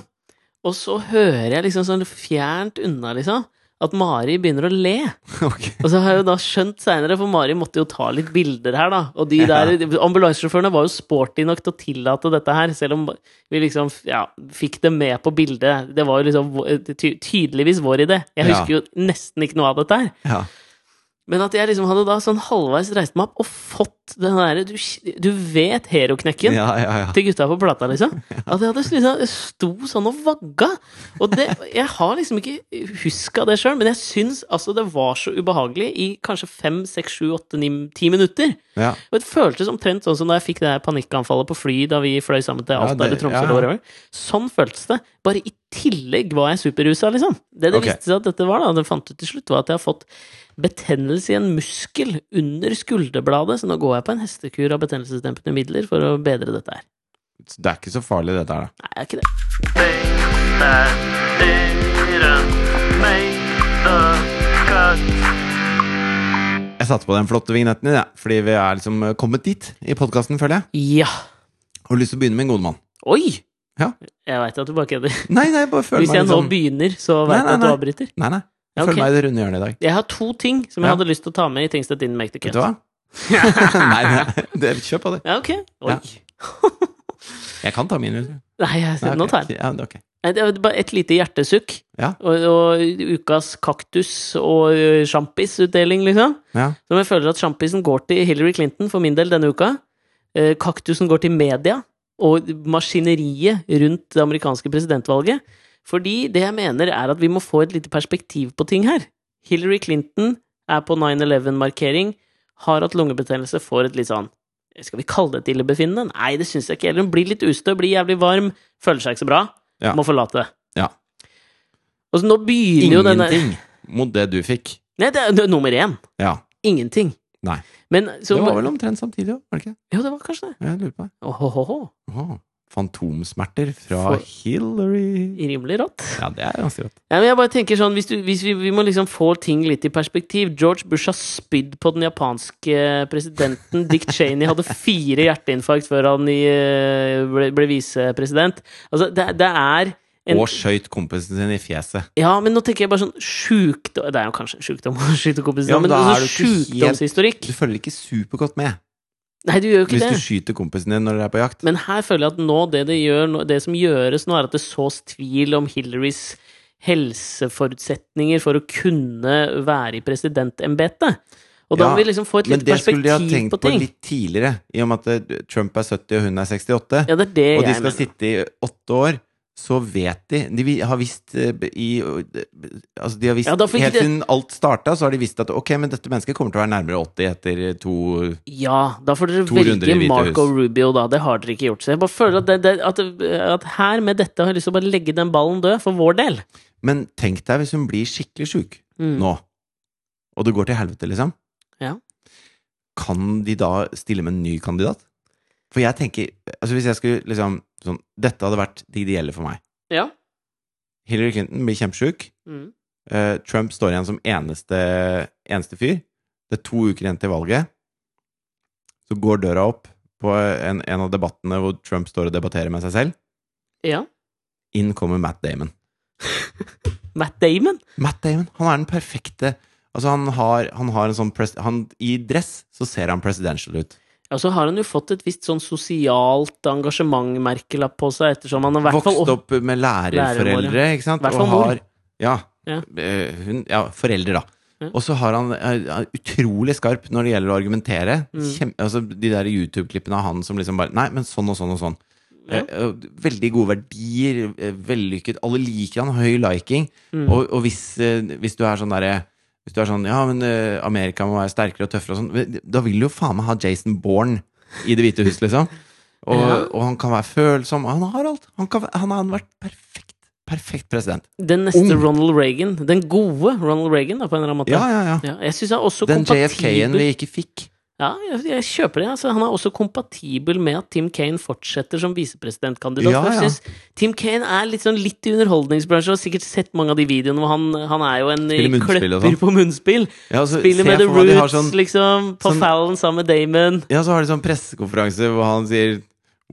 B: Og så hører jeg liksom sånn fjernt unna, liksom, at Mari begynner å le.
A: Ok.
B: Og så har jeg jo da skjønt seinere, for Mari måtte jo ta litt bilder her, da. Og de
A: Ja.
B: der ambulansesjåførene var jo sporty nok til å tillate dette her, selv om vi liksom ja, fikk det med på bildet. Det var jo liksom vå- ty- tydeligvis vår idé. Jeg
A: Ja.
B: husker jo nesten ikke noe av dette her.
A: Ja.
B: Men at jeg liksom hadde da sånn halvveis reist meg opp og fått den derre du, du vet
A: ja,
B: heroknekken?
A: ja, ja.
B: til gutta på plata, liksom. At jeg hadde liksom jeg sto sånn og vagga. Og det, jeg har liksom ikke huska det sjøl, men jeg syns altså det var så ubehagelig i kanskje fem, seks, sju, åtte, ni, ti minutter.
A: ja.
B: Og det føltes omtrent sånn som da jeg fikk det her panikkanfallet på fly da vi fløy sammen til
A: Ja,
B: Alta
A: det-
B: eller Tromsø
A: ja.
B: eller whatever. Sånn føltes det. Bare i tillegg var jeg superrusa, liksom. Det det
A: Ok.
B: viste seg at dette var, da, det fant ut til slutt, var at jeg har fått betennelse i en muskel under skulderbladet, så nå går jeg på en hestekur av betennelsesdempende midler for å bedre dette her.
A: Så Det er ikke så farlig, dette her, da.
B: Nei, jeg er ikke det.
A: Jeg satte på den flotte vignetten din, ja, fordi vi er liksom eh, kommet dit i podkasten, føler jeg.
B: Ja.
A: Har du lyst til å begynne med en god mann?
B: Oi!
A: Ja.
B: Jeg veit at du bare kødder.
A: Nei, nei, jeg bare føler
B: Hvis jeg
A: meg
B: nå
A: liksom
B: begynner, så
A: Nei,
B: veit jeg
A: nei,
B: at du
A: nei.
B: avbryter.
A: Nei, nei. Jeg
B: Ja, ok.
A: føler meg i det runde hjørnet i dag.
B: Jeg har to ting som jeg
A: Ja.
B: hadde lyst til å ta med i Tingstedt in Make the
A: Vet
B: Cut.
A: du hva? nei, nei, det, kjør på det.
B: Ja, ok. Oi.
A: Ja. Jeg kan ta min. Nei,
B: Nei, jeg,
A: ok.
B: nå tar jeg den.
A: Ja, ok.
B: Nei, Det var bare et lite hjertesukk.
A: Ja.
B: Og, og ukas kaktus og ø, sjampisutdeling, liksom.
A: Ja.
B: Som jeg føler at sjampisen går til Hillary Clinton for min del denne uka. Eh, Kaktusen går til media og maskineriet rundt det amerikanske presidentvalget. Fordi det jeg mener er at vi må få et lite perspektiv på ting her. Hillary Clinton er på 9-11-markering, har hatt lungebetennelse, får et litt sånn Skal vi kalle det et illebefinnende? Nei, det syns jeg ikke heller. Hun blir litt ustø, blir jævlig varm, føler seg ikke så bra,
A: Ja.
B: må forlate.
A: Ja.
B: Og så nå begynner jo denne
A: Ingenting mot det du fikk.
B: Nei, det er, det er nummer én.
A: Ja.
B: Ingenting.
A: Nei.
B: Men så
A: Det var vel omtrent samtidig òg, var det ikke?
B: Jo, det var kanskje det.
A: Jeg lurer på det.
B: Åhåhåhå.
A: Åh, fantomsmerter fra
B: For-
A: Hillary.
B: Rimelig rått.
A: Ja, det er ganske rått.
B: Nei, men jeg bare tenker sånn, hvis, du, hvis vi, vi må liksom få ting litt i perspektiv George Bush har spydd på den japanske presidenten. Dick Cheney hadde fire hjerteinfarkt før han i, eh, ble, ble visepresident. Altså, det, det er en,
A: Og skøyt kompisen sin i fjeset.
B: Ja, men nå tenker jeg bare sånn sjukdom Det er jo kanskje en sjukdom, sjukdomskompis,
A: Ja, men
B: men,
A: da er du
B: altså,
A: ikke helt-
B: sjukdomshistorikk
A: Du følger ikke supergodt med
B: Nei, du gjør jo ikke
A: hvis
B: det.
A: du skyter kompisen din når dere er på jakt.
B: Men her føler jeg at nå det, det, gjør, nå- det som gjøres nå, er at det sås tvil om Hillarys helseforutsetninger for å kunne være i presidentembetet. Og da
A: Ja,
B: må vi liksom få et
A: Men
B: litt
A: det skulle de ha
B: perspektiv
A: tenkt
B: på
A: på,
B: ting.
A: litt tidligere, i og med at eh, Trump er 70 og hun er 68.
B: Ja, det er det
A: og de
B: jeg
A: skal
B: mener.
A: sitte i åtte år så vet de De vi- har visst eh, be- i Altså, de har visst
B: Ja, da får ikke
A: Helt
B: det-
A: siden alt starta, så har de visst at ok, men dette mennesket kommer til å være nærmere 80 etter to
B: Ja, da får dere
A: To runder i
B: velge
A: Hvite
B: Marco
A: hus.
B: Rubio, da. Det har dere ikke gjort. Så jeg bare føler at, det, det, at, at her med dette har jeg lyst til å bare legge den ballen død, for vår del.
A: Men tenk deg hvis hun blir skikkelig sjuk
B: Mm.
A: nå, og det går til helvete, liksom.
B: Ja.
A: Kan de da stille med en ny kandidat? For jeg tenker Altså, hvis jeg skulle liksom sånn Dette hadde vært det ideelle for meg.
B: Ja.
A: Hillary Clinton blir kjempesjuk.
B: Mm.
A: Eh, Trump står igjen som eneste, eneste fyr. Det er to uker igjen til valget. Så går døra opp på en, en av debattene hvor Trump står og debatterer med seg selv.
B: ja.
A: Inn kommer Matt Damon.
B: Matt Damon.
A: Matt Damon, han er den perfekte Altså, han har, han har en sånn pres, han, I dress så ser han presidential ut.
B: Og så har han jo fått et visst sånn sosialt engasjement, merkelapp på seg, ettersom han har i hvert fall
A: Vokst opp med lærerforeldre,
B: Lærermor,
A: ikke sant?
B: Hvert fall
A: Og
B: mor.
A: har Ja.
B: Ja.
A: eh, Hun, ja foreldre, da.
B: Ja.
A: Og så har han er, er utrolig skarp når det gjelder å argumentere.
B: Mm.
A: Kjem, altså, de der YouTube-klippene av han som liksom bare Nei, men sånn og sånn og sånn.
B: Ja.
A: Eh, og Veldig gode verdier, eh, vellykket. Alle liker han, høy liking.
B: Mm.
A: Og, og hvis, eh, hvis du er sånn derre hvis du er sånn Ja, men eh, Amerika må være sterkere og tøffere og sånn. Da vil du jo faen meg ha Jason Bourne i Det hvite hus, liksom. Og,
B: Ja.
A: og han kan være følsom. Han har alt. Han, kan, han har vært perfekt, perfekt president.
B: Den neste
A: Ung.
B: Ronald Reagan. Den gode Ronald Reagan, da, på en eller annen måte.
A: Ja, ja, ja.
B: Ja, jeg syns han er også
A: Den JFK-en
B: kompatibel
A: vi ikke fikk.
B: Ja, jeg, jeg kjøper det. Altså, han er også kompatibel med at Tim Kaine fortsetter som visepresidentkandidat.
A: Ja,
B: for
A: ja.
B: jeg synes Tim Kaine er litt, sånn, litt i underholdningsbransjen. og Har sikkert sett mange av de videoene hvor han, han er jo en
A: Spiller munnspill og
B: kløpper
A: sånn.
B: på munnspill.
A: Ja, så ser
B: Spiller med The
A: jeg for meg de har
B: Roots,
A: sånn,
B: liksom. På
A: sånn-
B: Fallon sammen med Damon.
A: ja, så har de sånn pressekonferanse hvor han sier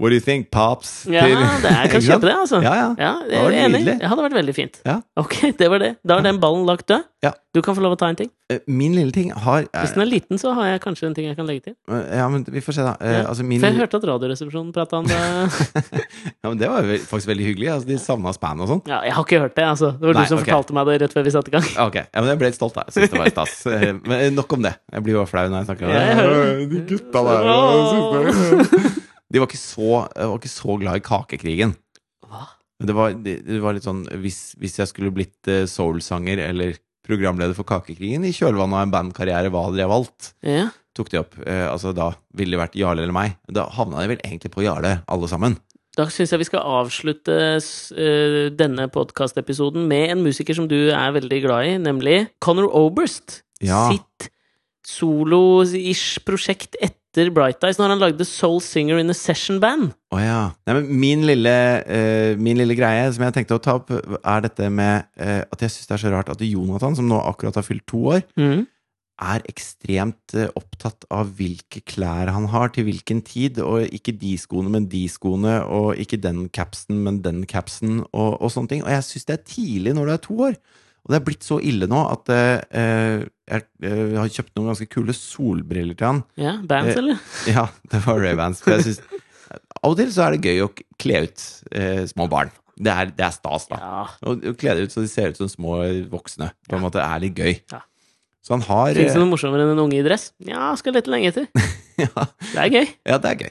A: What do you think, pops?
B: Ja,
A: til-
B: det er, jeg
A: Ikke
B: kan
A: sant?
B: kjøpe det, altså.
A: Ja, ja.
B: jeg
A: var
B: er enig.
A: nydelig.
B: Det hadde vært veldig fint.
A: Ja.
B: Ok, det var det. Da er den ballen lagt død.
A: Ja.
B: Du kan få lov å ta en ting.
A: Eh, Min lille ting har eh,
B: Hvis den er liten, så har jeg kanskje en ting jeg kan legge til.
A: Ja, men vi får se, da. Eh,
B: Ja.
A: Altså, min
B: For jeg hørte at Radioresepsjonen prata om det.
A: Ja, men Det var jo ve- faktisk veldig hyggelig. Altså, de savna span og sånn.
B: Ja, jeg har ikke hørt det, altså. Det var
A: Nei,
B: du som
A: ok.
B: fortalte meg det rett før vi satte i gang.
A: Ok, ja, men Jeg ble litt stolt, da. Jeg synes det var stas. Eh, Men eh, nok om det. Jeg blir jo flau når jeg snakker om
B: Ja, jeg hører
A: det. Eh, De gutta der jeg synes det. De var ikke så, eh, var ikke så glad i kakekrigen.
B: Hva?
A: Men Det var, det, det var litt sånn Hvis, hvis jeg skulle blitt eh, soul-sanger eller programleder for Kakekrigen i kjølvannet av en bandkarriere, hva hadde jeg valgt?
B: Ja.
A: Tok de opp. Eh, altså Da ville det vært Jarle eller meg. Da havna de vel egentlig på Jarle, alle sammen.
B: Da syns jeg vi skal avslutte s- eh, denne podkastepisoden med en musiker som du er veldig glad i, nemlig Conor Oberst.
A: Ja.
B: Sitt solo-ish prosjekt etter Bright Eyes, når han lagde Soul Singer in a Session Band.
A: Å ja. Nei, men min lille, eh, min lille greie som jeg tenkte å ta opp, er dette med eh, at jeg syns det er så rart at Jonathan, som nå akkurat har fylt to år, er ekstremt eh, opptatt av hvilke klær han har til hvilken tid, og ikke de skoene, men de skoene, og ikke den capsen, men den capsen, og, og sånne ting. Og jeg syns det er tidlig når du er to år. Og det er blitt så ille nå at eh, jeg, eh, har kjøpt noen ganske kule solbriller til han.
B: Ja, bands,
A: Eh,
B: eller?
A: Ja, det var Ray-Bans. For jeg synes, av og til så er det gøy å kle ut eh, små barn. Det er, det er stas, da.
B: Ja.
A: Å å kle det ut så de ser ut som små voksne. På en måte er litt gøy.
B: Ja.
A: Så han har
B: Fins
A: eh,
B: det noe morsommere enn en unge i dress? Ja, skal lete lenge etter.
A: ja,
B: Det er gøy.
A: ja, det er gøy.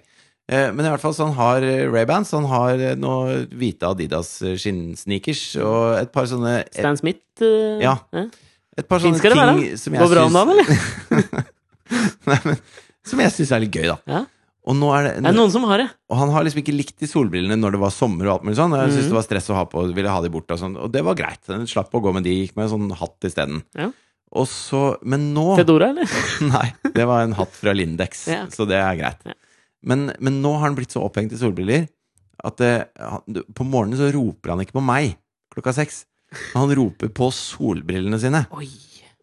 A: Eh, Men i hvert fall så han har eh, Ray-Bans. Han har eh, noe hvite Adidas eh, skinnsneakers og et par sånne et,
B: Stan Smith eh,
A: Ja. et par
B: Fint
A: sånne
B: skal
A: ting
B: det være,
A: som jeg
B: Går bra om dagen, eller?
A: Nei, men, som jeg syns er litt gøy, da.
B: Ja.
A: Og nå er det
B: Er det noen som har det?
A: Og han har liksom ikke likt de solbrillene når det var sommer og alt mulig sånn. og Jeg syntes
B: Mhm.
A: det var stress å ha på, ville ha de bort og sånn. Og det var greit. Den slapp å gå med de, gikk med en sånn hatt isteden.
B: Ja.
A: Og så Men nå
B: Fedora, eller?
A: Nei, det var en hatt fra Lindex,
B: Ja, ok.
A: så det er greit.
B: Ja.
A: Men, men nå har han blitt så opphengt i solbriller at det, han, du- på morgenen så roper han ikke på meg klokka seks. Han roper på solbrillene sine.
B: Oi.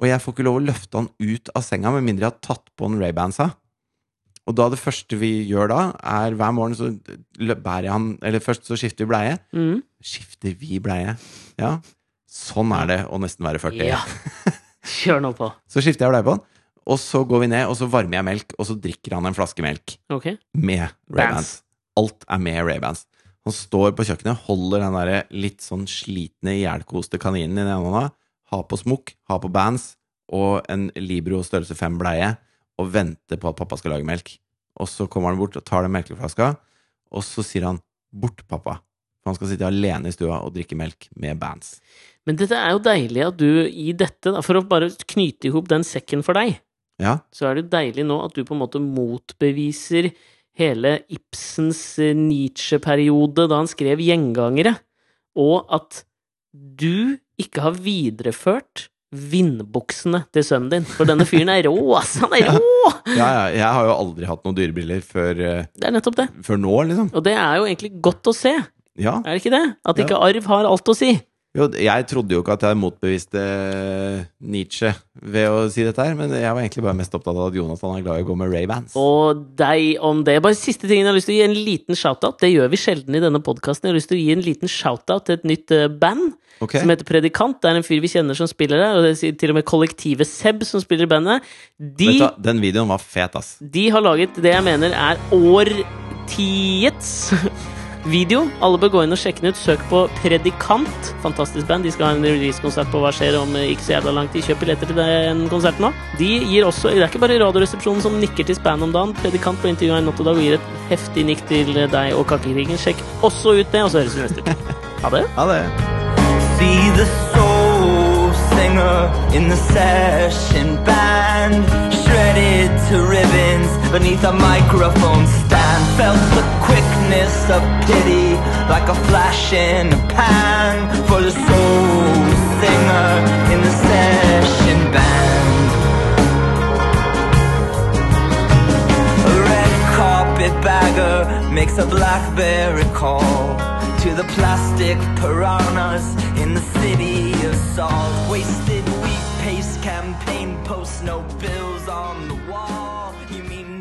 A: Og jeg får ikke lov å løfte han ut av senga med mindre jeg har tatt på han Ray-Bansa. Og da det første vi gjør da, er hver morgen så lø- bærer jeg han Eller først så skifter vi bleie.
B: Mm.
A: Skifter vi bleie? Ja. Sånn er det å nesten være 40.
B: Ja. Kjør nå på.
A: Så skifter jeg bleie på han, og så går vi ned, og så varmer jeg melk, og så drikker han en flaske melk
B: Ok.
A: med Ray-Bans.
B: Bands.
A: Alt er med Ray-Bans. Han står på kjøkkenet, holder den der litt sånn slitne, ihjelkoste kaninen i den ene hånda, har på smokk, har på bands og en Libro størrelse 5 bleie, og venter på at pappa skal lage melk. Og så kommer han bort og tar den melkeflaska, og så sier han 'bort, pappa'. For Man skal sitte alene i stua og drikke melk med bands.
B: Men dette er jo deilig at du i dette, da, for å bare knyte i hop den sekken for deg,
A: Ja,
B: så er det deilig nå at du på en måte motbeviser hele Ibsens eh, Nietzsche-periode da han skrev Gjengangere, og at du ikke har videreført vindbuksene til sønnen din. For denne fyren er rå, ass! Han er rå!
A: ja, ja jeg har jo aldri hatt noen dyrebriller før, eh,
B: Det er nettopp det.
A: før nå, liksom.
B: Og det er jo egentlig godt å se, er
A: Ja.
B: det ikke det? At
A: Ja.
B: ikke arv har alt å si.
A: Jo, jeg trodde jo ikke at jeg motbeviste Nietzsche ved å si dette her, men jeg var egentlig bare mest opptatt av at Jonathan er glad i å gå med Ray-Bans.
B: Og deg om det. Bare siste tingen jeg har lyst til å gi en liten shout-out. Det gjør vi sjelden i denne podkasten. Jeg har lyst til å gi en liten shout-out til et nytt eh, band
A: Ok,
B: som heter Predikant. Det er en fyr vi kjenner som spiller der, og det sier til og med kollektivet Seb som spiller i bandet. De,
A: Vet du, hva, den videoen var fet, ass.
B: de har laget det jeg mener er årtiets video. Alle bør gå inn og sjekke den ut. Søk på Predikant. Fantastisk band. De skal ha en releasekonsert på Hva skjer om eh, ikke så jævla lang tid. Kjøp billetter til den konserten nå. De gir også Det er ikke bare Radioresepsjonen som nikker til span om dagen. Predikant ble intervjua i Natt og Dag og gir et heftig nikk til eh, deg og Kakekrigen. Sjekk også ut det, og så høres vi neste uke. Ha det.
A: Ha det.
C: See the soul singer in the session band, shredded to ribbons beneath a microphone stand. Felt the quickness of pity like a flash in a pan for the soul singer in the session band. A red carpet bagger makes a blackberry call to the plastic piranhas in the city of salt. Wasted week pace campaign posts, no bills on the wall. You mean